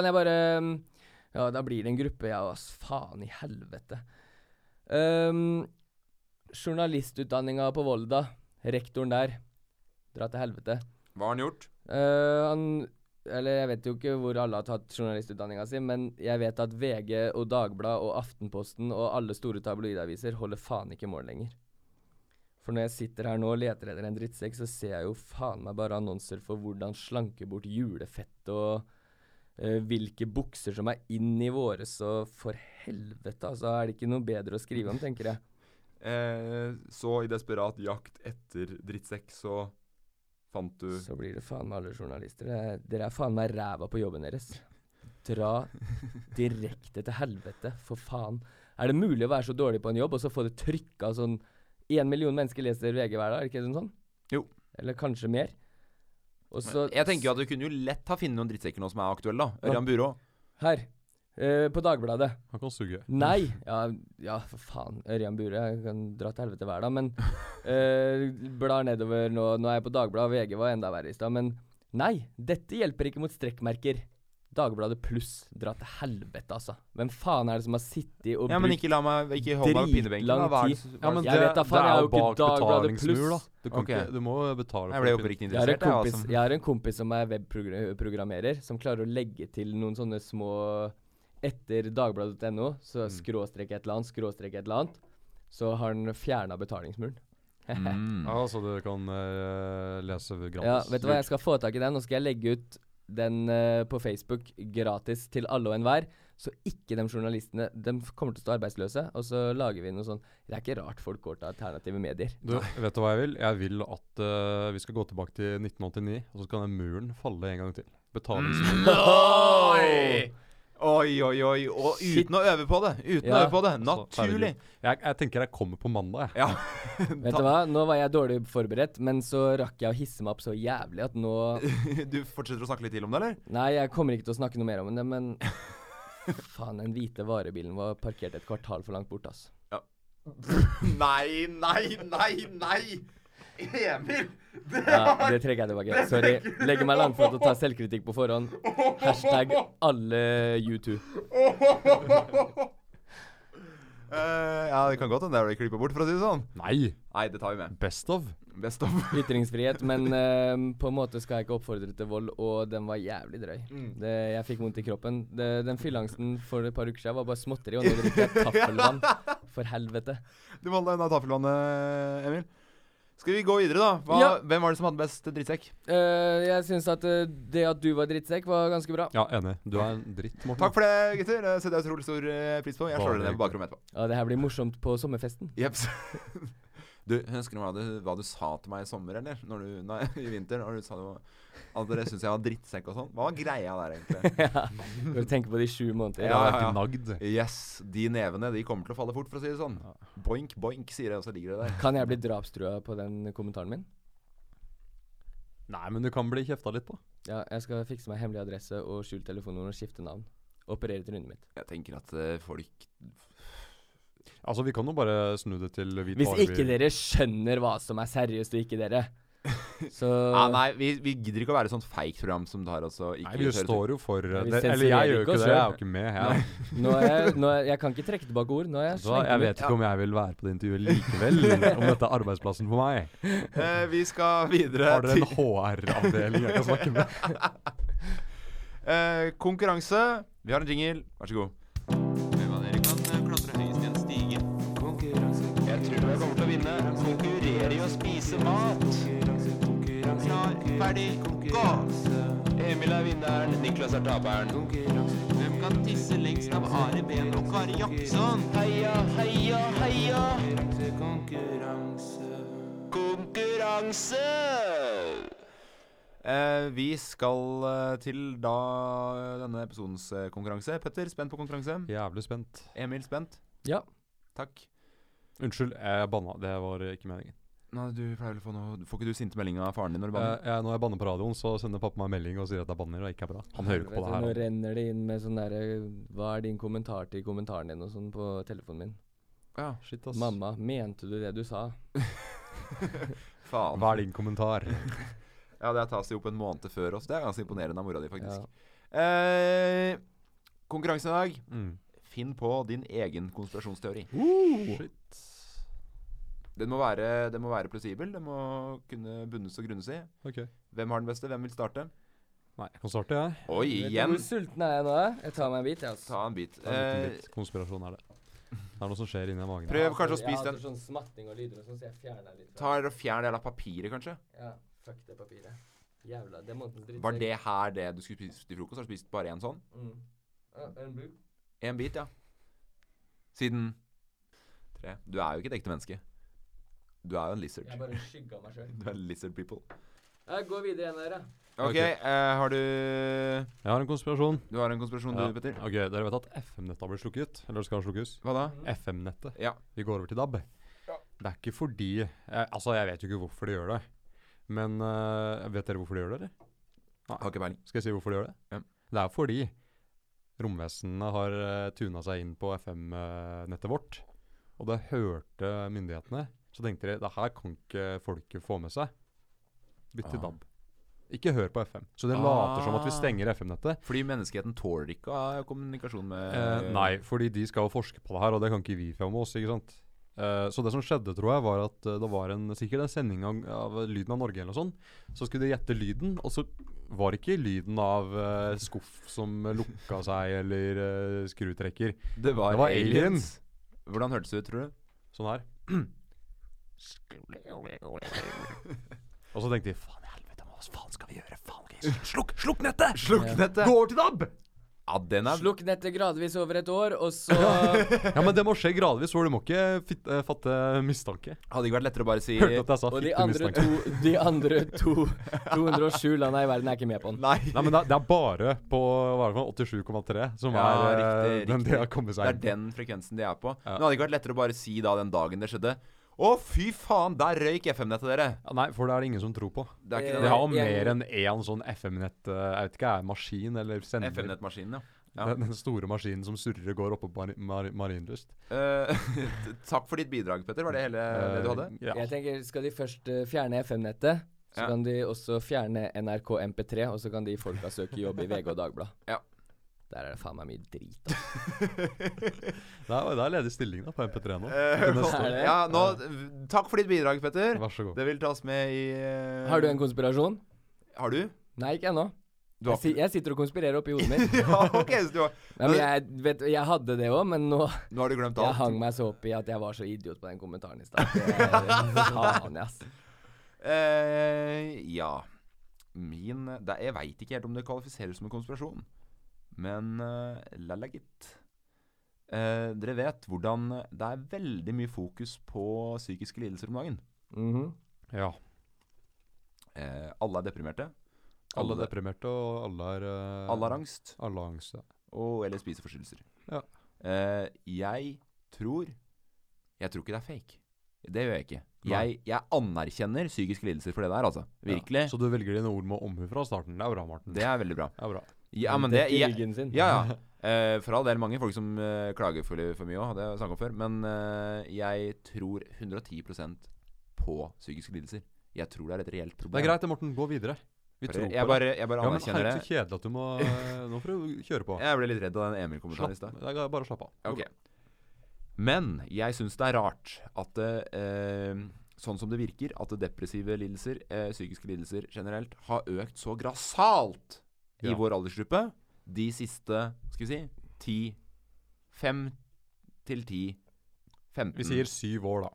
kan jeg bare um, Ja, da blir det en gruppe, jeg ass. Faen i helvete. Um, journalistutdanninga på Volda. Rektoren der. Dra til helvete. Hva har han gjort? Eh, han Eller jeg vet jo ikke hvor alle har tatt journalistutdanninga si, men jeg vet at VG og Dagbladet og Aftenposten og alle store tabloidaviser holder faen ikke mål lenger. For når jeg sitter her nå og leter etter en drittsekk, så ser jeg jo faen meg bare annonser for hvordan slanke bort julefett og eh, hvilke bukser som er inn i våre, så for helvete, altså. Er det ikke noe bedre å skrive om, tenker jeg. Eh, så i desperat jakt etter drittsekk, så fant du Så blir det faen meg alle journalister. Det er- Dere er faen meg ræva på jobben deres. Dra direkte til helvete, for faen. Er det mulig å være så dårlig på en jobb, og så få det trykka sånn Én million mennesker leser VG hver dag, er det ikke sånn? sånn? Jo. Eller kanskje mer. Og så Jeg tenker jo at du kunne jo lett ha funnet noen drittsekker nå som er aktuelle, da. Ørjan Burå. Her. eh, på Dagbladet. Han kan suge. Nei! Ja, ja for faen. Ørjan Bure jeg kan dra til helvete hver dag, men eh, blar nedover nå. Nå er jeg på Dagbladet, VG var enda verre i stad, men nei! Dette hjelper ikke mot strekkmerker. Dagbladet pluss. Dra til helvete, altså. Hvem faen er det som har sittet og Ja, men ikke la meg Ikke hold meg på pinnebenken. da. Dritlang Hva er det tid. som- Ja, men Jeg det, vet da faen, jeg det er er jo jo ikke bak Dagbladet betalingsmur, da. Pluss. Du, kan Ok. ikke, du må betale Jeg ble å kunne- oppriktig Jeg har, en interessert. jeg, kompis, altså. jeg har en kompis som er webprogrammerer, som klarer å legge til noen sånne små Etter dagbladet.no, så Mm. skråstrek et eller annet, skråstrek et eller annet, så har han fjerna betalingsmuren. Mm. Ja, så du kan eh, lese gratis. Ja, vet du hva, jeg skal få tak i den, og så skal jeg legge ut den eh, på Facebook gratis til alle og enhver. Så ikke de journalistene De kommer til å stå arbeidsløse, og så lager vi noe sånn Det er ikke rart folk går til alternative medier. Du, vet du hva jeg vil? Jeg vil at eh, vi skal gå tilbake til 1989, og så skal den muren falle en gang til. Betalingsmuren. Oi! Oi, oi, oi. Og Shit. uten å øve på det. Uten å Ja. øve på det. Så, Naturlig. Altså, herregud. Jeg, jeg tenker jeg kommer på mandag, jeg. Ja. Vet du hva, nå var jeg dårlig forberedt, men så rakk jeg å hisse meg opp så jævlig at nå Du fortsetter å snakke litt til om det, eller? Nei, jeg kommer ikke til å snakke noe mer om det, men Faen, den hvite varebilen var parkert et kvartal for langt bort, ass. Nei, nei, nei, nei! Emil! Ja, det trekker jeg tilbake. Sorry. Legger meg langflat og tar selvkritikk på forhånd. Hashtag alle U2. Eh, ja, det kan godt hende det blir klippa bort, for å si det sånn. Nei! Nei, det tar vi med. Best of. Best of. Ytringsfrihet, men eh, på en måte skal jeg ikke oppfordre til vold, og den var jævlig drøy. Mm. Det, jeg fikk vondt i kroppen. Det, den fylleangsten for et par uker siden var bare småtteri, og nå drikker jeg taffelvann. For helvete. Du må holde deg unna taffelvannet, Emil. Skal vi gå videre, da? Hva, Ja. Hvem var det som hadde best drittsekk? Eh, jeg syns at eh, det at du var drittsekk, var ganske bra. Ja, enig. Du er en dritt, Morten. Takk for det, gutter. Det setter jeg utrolig stor eh, pris på. Jeg slår Bare dere ned på bakrommet etterpå. Ja, det her blir morsomt på sommerfesten. Jeps. Du, Husker du hva, du hva du sa til meg i sommer, eller? Når du, nei, I vinter? Når du sa det var, at dere syntes jeg var drittsekk og sånn? Hva var greia der, egentlig? Når du tenker på de sju måneder. Ja, ja, ja. Gnagd. Yes, de nevene de kommer til å falle fort, for å si det sånn. Boink, boink, sier jeg, og så ligger det der. Kan jeg bli drapstrua på den kommentaren min? Nei, men du kan bli kjefta litt på. Ja, jeg skal fikse meg hemmelig adresse og skjult telefonnummer og skifte navn. Operere trynet mitt. Jeg tenker at eh, folk Altså, vi kan jo bare snu det til eh, hvit Hvis varebil. ikke dere skjønner hva som er seriøst, og ikke dere, så Ja, Ah, Nei, vi, vi gidder ikke å være et sånt feigt program som tar oss og ikke Nei, vi hører til. står jo for eh, vi det. Eller sensurerer jeg gjør jo ikke ikke oss det. Jeg er selv. jo ikke med. Jeg, nå er jeg, nå er, jeg kan ikke trekke tilbake ord. Nå er jeg Så jeg vet ikke om jeg vil være på det intervjuet likevel, om dette er arbeidsplassen for meg. Eh, vi skal videre Har til dere en HR-avdeling jeg kan snakke med? eh, konkurranse. Vi har en jingle. Vær så god. Eh, vi skal eh, til da denne episodens eh, konkurranse. Petter, spent på konkurranse. Jævlig spent. Emil, spent. Ja. Takk. Unnskyld, jeg banna. Det var ikke meningen. Nei, du pleier vel å få noe Får ikke du sinte meldinger av faren din når du Eh, banner? jeg, når jeg banner på radioen, så sender pappa meg melding og sier at jeg banner og ikke er bra. Han hører ikke Nå på det her. renner det inn med sånn derre Hva er din kommentar til kommentaren din og sånn på telefonen min? ja. Shit, ass. Mamma, mente du det du sa? Faen. Hva er din kommentar? Ja, det tas jo opp en måned før oss. Det er ganske imponerende av mora di, faktisk. Ja. Eh, konkurransen i dag. Mm. Finn på din egen konspirasjonsteori. Shit. Den må være, den må være plausibel. Den må kunne bunnes og grunnes i. Ok. Hvem har den beste? Hvem vil starte? Nei, jeg kan starte, jeg. Oi, Vet du igjen! hvor sulten er jeg nå? eh? Jeg tar meg en bit, jeg. Altså. Ta en bit. Det er en Eh, liten bit. Konspirasjon er det. Det er noe som skjer inni magen. prøv kanskje å Jeg spise hater den. sånn smatting og lyder og sånn, så jeg fjerner litt. Ta og Fjern det jævla papiret, kanskje. Ja, fuck det papiret. Jævla, det er månedens dritt. Var det her det du skulle spise til frokost? Har du spist bare én sånn? Mm. Ja, en buk. Én bit, ja. Siden tre. Du er jo ikke et ekte menneske. Du er jo en lizard. Jeg bare skygga meg sjøl. Du er lizard people. Gå videre igjen, dere. OK, Ok. eh, har du Jeg har en konspirasjon. Du har en konspirasjon, Ja. du, Petter? Ok, Dere vet at FM-nettet har blitt slukket? Eller skal slukkes? Hva da? FM-nettet. Ja. Vi går over til DAB. Det er ikke fordi eh, Altså, jeg vet jo ikke hvorfor de gjør det. Men eh, vet dere hvorfor de gjør det, eller? Har ikke peiling. Skal jeg si hvorfor de gjør det? Ja. Det er fordi romvesenene har uh, tuna seg inn på FM-nettet vårt. Og det hørte myndighetene. Så tenkte de det her kan ikke folket få med seg. Bytte Ah. DAB. Ikke hør på FM. Så det later som at vi Ah. stenger FM-nettet. Fordi menneskeheten tåler ikke å ha kommunikasjon med Eh, nei, fordi de skal jo forske på det her, og det kan ikke vi få med oss. ikke sant? Eh, så det som skjedde, tror jeg, var at eh, det var en, sikkert en sending av, av Lyden av Norge eller noe sånt. Så skulle de gjette lyden, og så var det ikke lyden av eh, skuff som lukka seg, eller eh, skrutrekker. Det var, Det var aliens. aliens. Hvordan hørtes det ut, tror du? Sånn her. og så tenkte de faen i helvete, hva faen skal vi gjøre? Faen, ok, Slukk, slukk nettet! Slukk nettet! Gå over til DAB! Ja, den er Slukk nettet gradvis over et år, og så Ja, men det må skje gradvis, for du må ikke fit- eh, fatte mistanke. Hadde ikke vært lettere å bare si Hørte at jeg Eh, sa Og de fitte andre, mistanke. to, de andre to 207 landa i verden er ikke med på den. Nei. Nei, men det er, det er bare på hva er det for noe, 87,3 som Ja, er eh, riktig, den riktig. de har kommet Det seg er inn på. den frekvensen de er på. Men det hadde ikke vært lettere å bare si da den dagen det skjedde Å, fy faen, der røyk FM-nettet, dere! Ja, nei, for det er det ingen som tror på. Det er Eh, ikke De den har jo jeg- mer enn én sånn FM-nett eh, Jeg vet ikke, er maskin eller sender. FM-nettmaskinen, ja. ja. Den, den store maskinen som surrer og går oppå mari mar Marienlyst. Eh, takk for ditt bidrag, Petter. Var det hele det du hadde? Eh, Ja. Jeg tenker, Skal de først eh, fjerne FM-nettet, så Ja. kan de også fjerne NRK MP3, og så kan de folka søke jobb i VG og Dagbladet. Ja. Der er det faen meg mye drit. da. Det er, det er ledig stilling da på MP3 nå. Eh, Til neste år. det? ja, nå, takk for ditt bidrag, Petter. Vær så god. Det vil tas med i eh, Har du en konspirasjon? Har du? Nei, ikke ennå. Du Jeg, har si, jeg sitter og konspirerer oppi hodet mitt. ja, ok, så du har Nei, men jeg, vet, du, jeg hadde det òg, men nå Nå har du glemt Jeg alt. hang meg så opp i at jeg var så idiot på den kommentaren i stad. Det er- Faen, ass. Eh, ja Min det, Jeg veit ikke helt om det kvalifiserer som en konspirasjon. Men uh, lalla, gitt. Eh, dere vet hvordan det er veldig mye fokus på psykiske lidelser om dagen. Mhm. Ja. Eh, alle er deprimerte. Alle er deprimerte, og alle er eh, alle har angst. Alle har angst, ja. og, eller spiseforstyrrelser. Ja. Eh, jeg tror Jeg tror ikke det er fake. Det gjør jeg ikke. Nei. Jeg, jeg anerkjenner psykiske lidelser for det der, altså. Virkelig. Ja. Så du velger dine ord med omhu fra starten. Det er bra, Marten. Det er veldig bra. er bra. Ja, men det Dekker jeg, ryggen sin. Ja, ja. Eh, for all del mange folk som eh, klager for, for mye òg, hadde jeg snakka om før. Men eh, jeg tror 110 på psykiske lidelser. Jeg tror det er et reelt problem. Det er greit det, Morten. Gå videre. Vi tror på Jeg det. bare, jeg bare Ja, men anerkjenner herregud, det. så kjedelig at du må eh, Nå får du kjøre på. Jeg ble litt redd av den Emil-kommentaren i Slapp, stad. det er bare slapp av. Ok. Men jeg syns det er rart at det, eh, sånn som det virker, at det depressive lidelser, eh, psykiske lidelser generelt, har økt så grassat i Ja. vår aldersgruppe de siste skal vi si, 10, 5 til 10, 15 Vi sier syv år, da.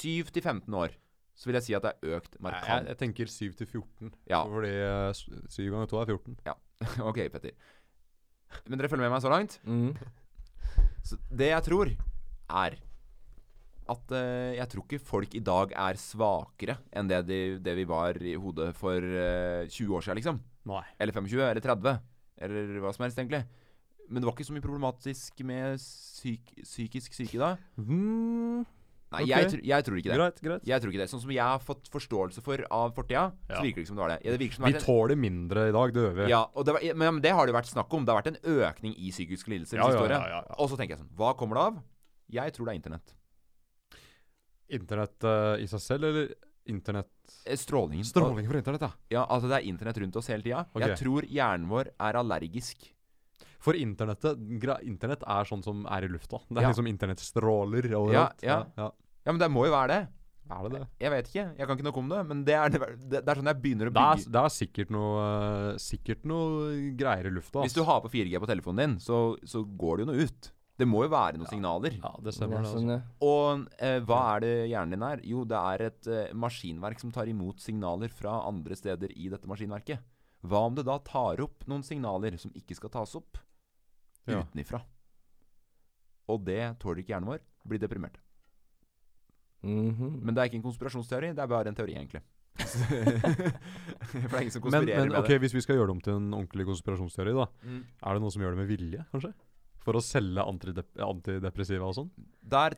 7 til 15 år. Så vil jeg si at det er økt Jeg, markant. jeg, jeg tenker syv til 14. Ja. Fordi eh, s- syv ganger to er 14. ok, Petter. Men dere følger med meg så langt? Mhm. Så det jeg tror, er at eh, jeg tror ikke folk i dag er svakere enn det, de, det vi var i hodet for eh, 20 år siden, liksom. Nei. Eller 25, eller 30, eller hva som helst, egentlig. Men det var ikke så mye problematisk med syk, psykisk syke da. Nei, jeg, ok. tr- jeg tror ikke det. Mm. Greit, greit. Jeg tror ikke det. Sånn som jeg har fått forståelse for av fortida, Ja. så virker det ikke som det var det. Ja, det virker som Vi det har vært en- tåler mindre i dag, det gjør vi. ja, og det var, men, men det har det jo vært snakk om. Det har vært en økning i psykiske lidelser det Ja, siste ja, året. ja, ja, ja. Og så tenker jeg sånn Hva kommer det av? Jeg tror det er internett. Internett eh, i seg selv, eller internett Eh, Strålingen. Stråling fra internett, ja. Ja, altså det er internett rundt oss hele tida. Ok. Jeg tror hjernen vår er allergisk. For internettet gra, Internett er sånn som er i lufta. Det er Ja. liksom internettstråler Ja, overalt. ja. ja. Ja, men det må jo være det. Er det det? Jeg vet ikke. Jeg kan ikke noe om det. Men det er, det, det er sånn jeg begynner å Det er, bygge. det er sikkert, noe, eh, sikkert noe greier i lufta. Hvis du har på 4G på telefonen din, så, så går det jo noe ut. Det må jo være noen signaler. Ja, det Det stemmer. er det, sånn, altså. ja. Og eh, hva er det hjernen din er? Jo, det er et eh, maskinverk som tar imot signaler fra andre steder i dette maskinverket. Hva om det da tar opp noen signaler som ikke skal tas opp Ja. utenifra? Og det tåler ikke hjernen vår. Blir deprimert. Mhm. Men det er ikke en konspirasjonsteori, det er bare en teori, egentlig. For det er ingen som Men, konspirerer men med ok, hvis vi skal gjøre det om til en ordentlig konspirasjonsteori, da. Mm. Er det noen som gjør det med vilje, kanskje? for å selge antidep antidepressiva og sånn? Der,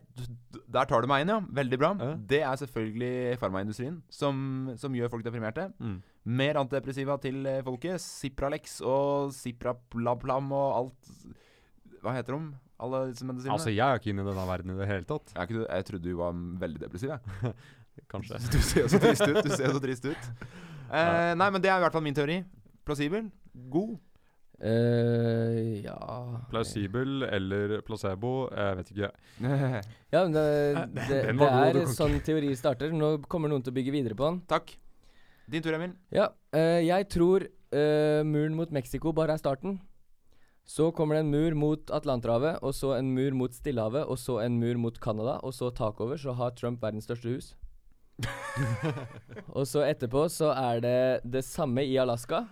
der tar du meg inn, ja. Veldig bra. Ja. Det er selvfølgelig farmaindustrien som, som gjør folk deprimerte. Mm. Mer antidepressiva til eh, folket. Cipralex og Cipraplaplam og alt Hva heter de? Alle disse medisinene? Altså, jeg er ikke inne i denne verden i det hele tatt. jeg, er ikke, du- jeg trodde du var veldig depressiv, jeg. Kanskje. Du ser så trist ut. Du ser så trist ut. Eh, nei, men det er i hvert fall min teori. Plausibel. God. Eh, ja Plausibel eller placebo, jeg vet ikke. Ja, men det, Nei, det, den det Eh, var god, du er kan ikke- sånn teori starter. Nå kommer noen til å bygge videre på den. Takk. Din tur, Emil. Ja, eh, jeg tror eh, muren mot Mexico bare er starten. Så kommer det en mur mot Atlanterhavet, og så en mur mot Stillehavet, og så en mur mot Canada, og så takover, så har Trump verdens største hus. og så etterpå så er det det samme i Alaska.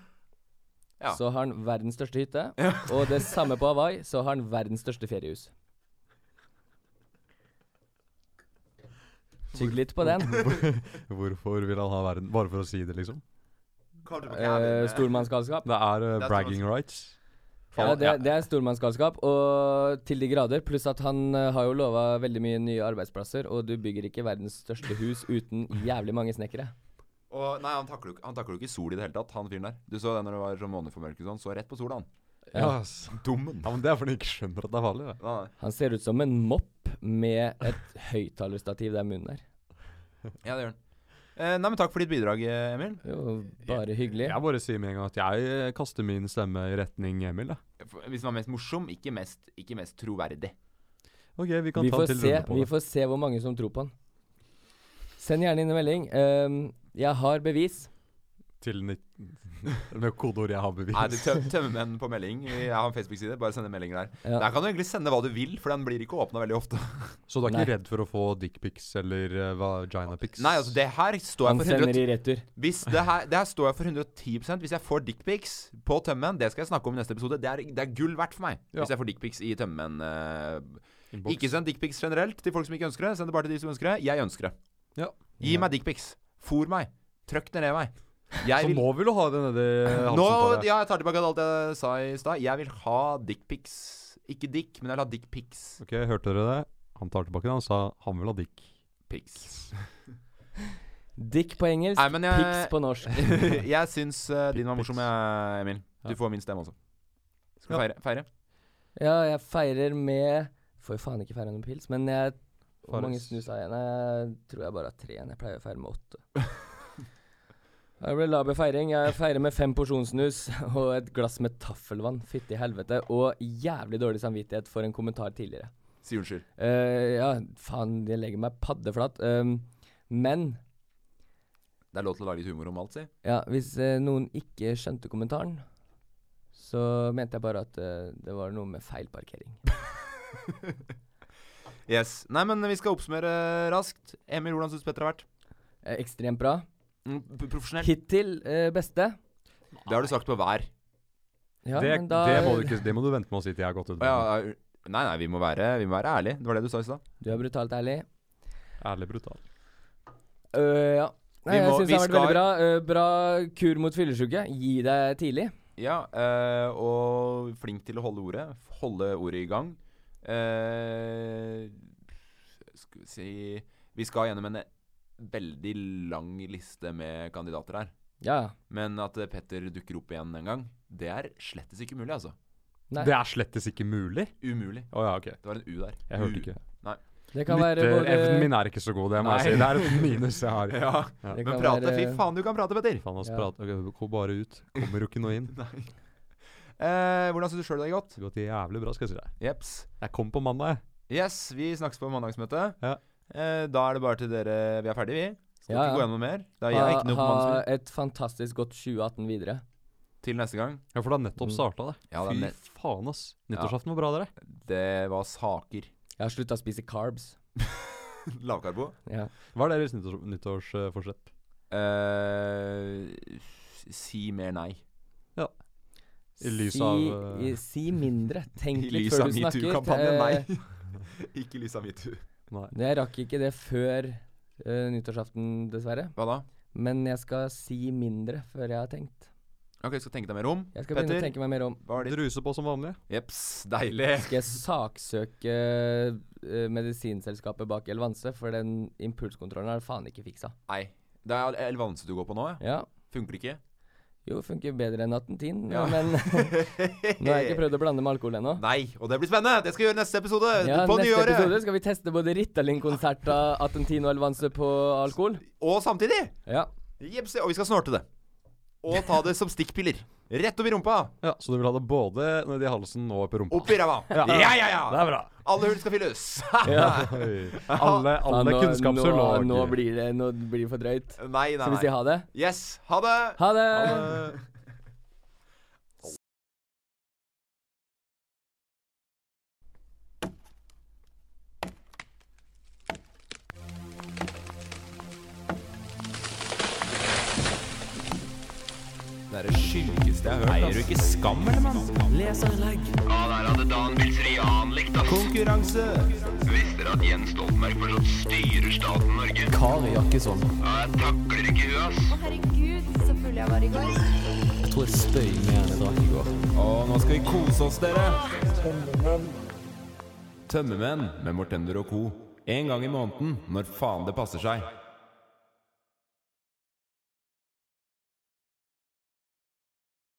Ja. Så har han verdens største hytte. Og det samme på Hawaii, så har han verdens største feriehus. Tygg litt på den. Hvorfor vil han ha verden? Bare for å si det, liksom? Eh, stormannsgalskap. Det er, eh, Det er bragging rights. Ja, det, det er stormannsgalskap, og til de grader. Pluss at han eh, har jo lova veldig mye nye arbeidsplasser, og du bygger ikke verdens største hus uten jævlig mange snekkere. Og, nei, han takler, jo ikke- han takler jo ikke sol i det hele tatt, han fyren der. Du så det når det var sånn måneformørkelse og sånn. Så rett på sola, han. Ja, ass. Dummen. ja, men Det er fordi de ikke skjønner at det er farlig. Det. Nei, nei. Han ser ut som en mopp med et høyttalerstativ der munnen er. Ja, det gjør han. Eh, nei, men takk for ditt bidrag, eh, Emil. Jo, bare hyggelig. Jeg bare sier med en gang at jeg eh, kaster min stemme i retning Emil. Da. F- Hvis man er mest morsom, ikke mest, ikke mest troverdig. Ok, vi kan Vi ta får, en til se, runde på vi det. får se hvor mange som tror på han. Send gjerne inn en melding. Ehm, jeg har bevis. Til nitt... Med kodeord jeg har Nei, du bevis. tøm, tømmermenn på melding. Jeg har en Facebook-side. Bare send en melding der. Ja. Der kan du egentlig sende hva du vil, for den blir ikke åpna veldig ofte. Så du er Nei. ikke redd for å få dickpics eller eh, vaginapics? Nei, altså, det her står Han jeg for sender 100 i retur. hvis det, her, det her står jeg for 110 Hvis jeg får dickpics på tømmen, det skal jeg snakke om i neste episode. Det er, det er gull verdt for meg. Ja. Hvis jeg får dickpics i tømmen. eh, Inbox. Ikke send dickpics generelt til folk som ikke ønsker det. Send det bare til de som ønsker det. Jeg ønsker det. Ja. Gi meg dickpics. Fôr meg. Trykk det ned meg. Jeg Så vil nå vil du ha det nedi halsen Nå, på deg. ja, jeg tar tilbake alt jeg sa i stad. Jeg vil ha dickpics. Ikke dick, men jeg vil ha dickpics. Ok, hørte dere det? Han tar tilbake det. Han sa han vil ha dick. Pics. Dick på engelsk, Nei, men jeg- pics på norsk. jeg syns eh, din var morsom, jeg, Emil. Du Ja. får min stemme også. Skal vi feire? feire? Ja, jeg feirer med Får jo faen ikke feire noen pils, men jeg Hvor Fares. mange snus har jeg? Nei, jeg tror jeg bare har tre igjen. Jeg pleier å feire med åtte. Det blir laber feiring. Jeg feirer med fem porsjonssnus og et glass med taffelvann. Fytti helvete. Og jævlig dårlig samvittighet for en kommentar tidligere. Si unnskyld. Eh, ja, faen, jeg legger meg paddeflat. Um, men Det er lov til å lage litt humor om alt, si. ja, hvis eh, noen ikke skjønte kommentaren, så mente jeg bare at eh, det var noe med feil parkering. Yes. Nei, men vi skal oppsummere eh, raskt. Emil, hvordan syns Petter har vært? Eh, ekstremt bra. Mm, p- Profesjonell. Hittil eh, beste. Det har du sagt på hver. Ja, det, men da, det, må du ikke, det må du vente med å si til jeg har gått ut. Å, ja, ja, nei, nei, vi må være, vi må være ærlige. Det var det du sa i stad. Du er brutalt ærlig. Ærlig brutal. Øh, ja. Nei, Vi jeg må- vi syns det har vært skal- veldig bra. Øh, bra kur mot fyllesyke. Gi deg tidlig. Ja, eh, og flink til å holde ordet. Holde ordet i gang. Eh, skal vi si Vi skal gjennom en veldig lang liste med kandidater her. Ja. Men at eh, Petter dukker opp igjen en gang, det er slettes ikke mulig, altså. Nei. Det er slettes ikke mulig. Umulig. Å ja, ok. Det var en U der. Jeg hørte ikke. Det kan være både Lytteevnen min er ikke så god, det må jeg Nei. si. Det er et minus jeg har. Ja, det men kan prate. være- Fy faen, du kan prate, Petter! Faen, ass, Ja. prat. Ok, Gå bare ut. Kommer jo ikke noe inn. Nei. Eh, hvordan syns du sjøl det har gått? Det har gått jævlig bra, skal jeg si deg. Jeps. Jeg kom på mandag, jeg. Yes, vi snakkes på mandagsmøtet. Ja. Eh, da er det bare til dere Vi er ferdige, vi. Skal Ja, ikke ja. gå gjennom noe mer. Da ha, gir jeg ikke noe på ha mandagsmøtet. et fantastisk godt 2018 videre. Til neste gang. Ja, for det har nettopp starta, det. Mm. Ja, det er nett- Fy faen, ass. Nyttårsaften var bra, dere. Det var saker. Jeg har slutta å spise carbs. Lavkarbo? Ja. Hva er deres nyttårs- nyttårsforsett? Eh, si mer nei. I lys si, av, øh, i- si mindre. Tenk I litt lys før av du snakker. metoo-kampanjen, Eh, ikke lys av metoo. Nei. jeg rakk ikke det før øh, nyttårsaften, dessverre. Hva da? Men jeg skal si mindre før jeg har tenkt. Ok, skal tenke deg mer om. Jeg skal begynne å Petter? tenke meg mer om. Hva er ditt? Druse på som vanlig. Jeps, deilig. Skal jeg saksøke eh, medisinselskapet bak Elvanse? For den impulskontrollen har faen ikke fiksa. Nei. Det er Elvanse du går på nå, ja. Ja. Funker det ikke? Jo, funker bedre enn 1810, Ja. men nå har jeg ikke prøvd å blande med alkohol ennå. Nei, og det blir spennende! Det skal vi gjøre neste episode! Ja, på neste nyåret! episode skal vi teste både Ritalin-konsert av 1810 og Elvanse på alkohol. Og samtidig! Ja. Jeps, og vi skal snorte det. Og ta det som stikkpiller. Rett opp i rumpa. Ja, Så du vil ha det både nedi halsen og oppi rumpa? Opp i ræva. Ja, ja, ja! Det er bra. Alle hull skal fylles. alle Ja, alle nå- kunnskapshull. Nå, nå blir det nå blir det for drøyt. nei, nei, Skal vi si nei. ha det? Yes. Ha det! Ha det! det. Det er det sjukeste jeg har hørt. Eier du ikke skam, eller, mann? Ja, der hadde Dan Bilsrud Jan likt, ass. Konkurranse! Visste dere at Jens Stoltenberg fortsatt styrer staten Norge? Kari Jakkesson. Ja, jeg takler ikke hun, ass. Å herregud, så full jeg var i går. Tror jeg støy mer enn i går. Og nå skal vi kose oss, dere. Tømmermenn med Mortender og co. En gang i måneden når faen det passer seg.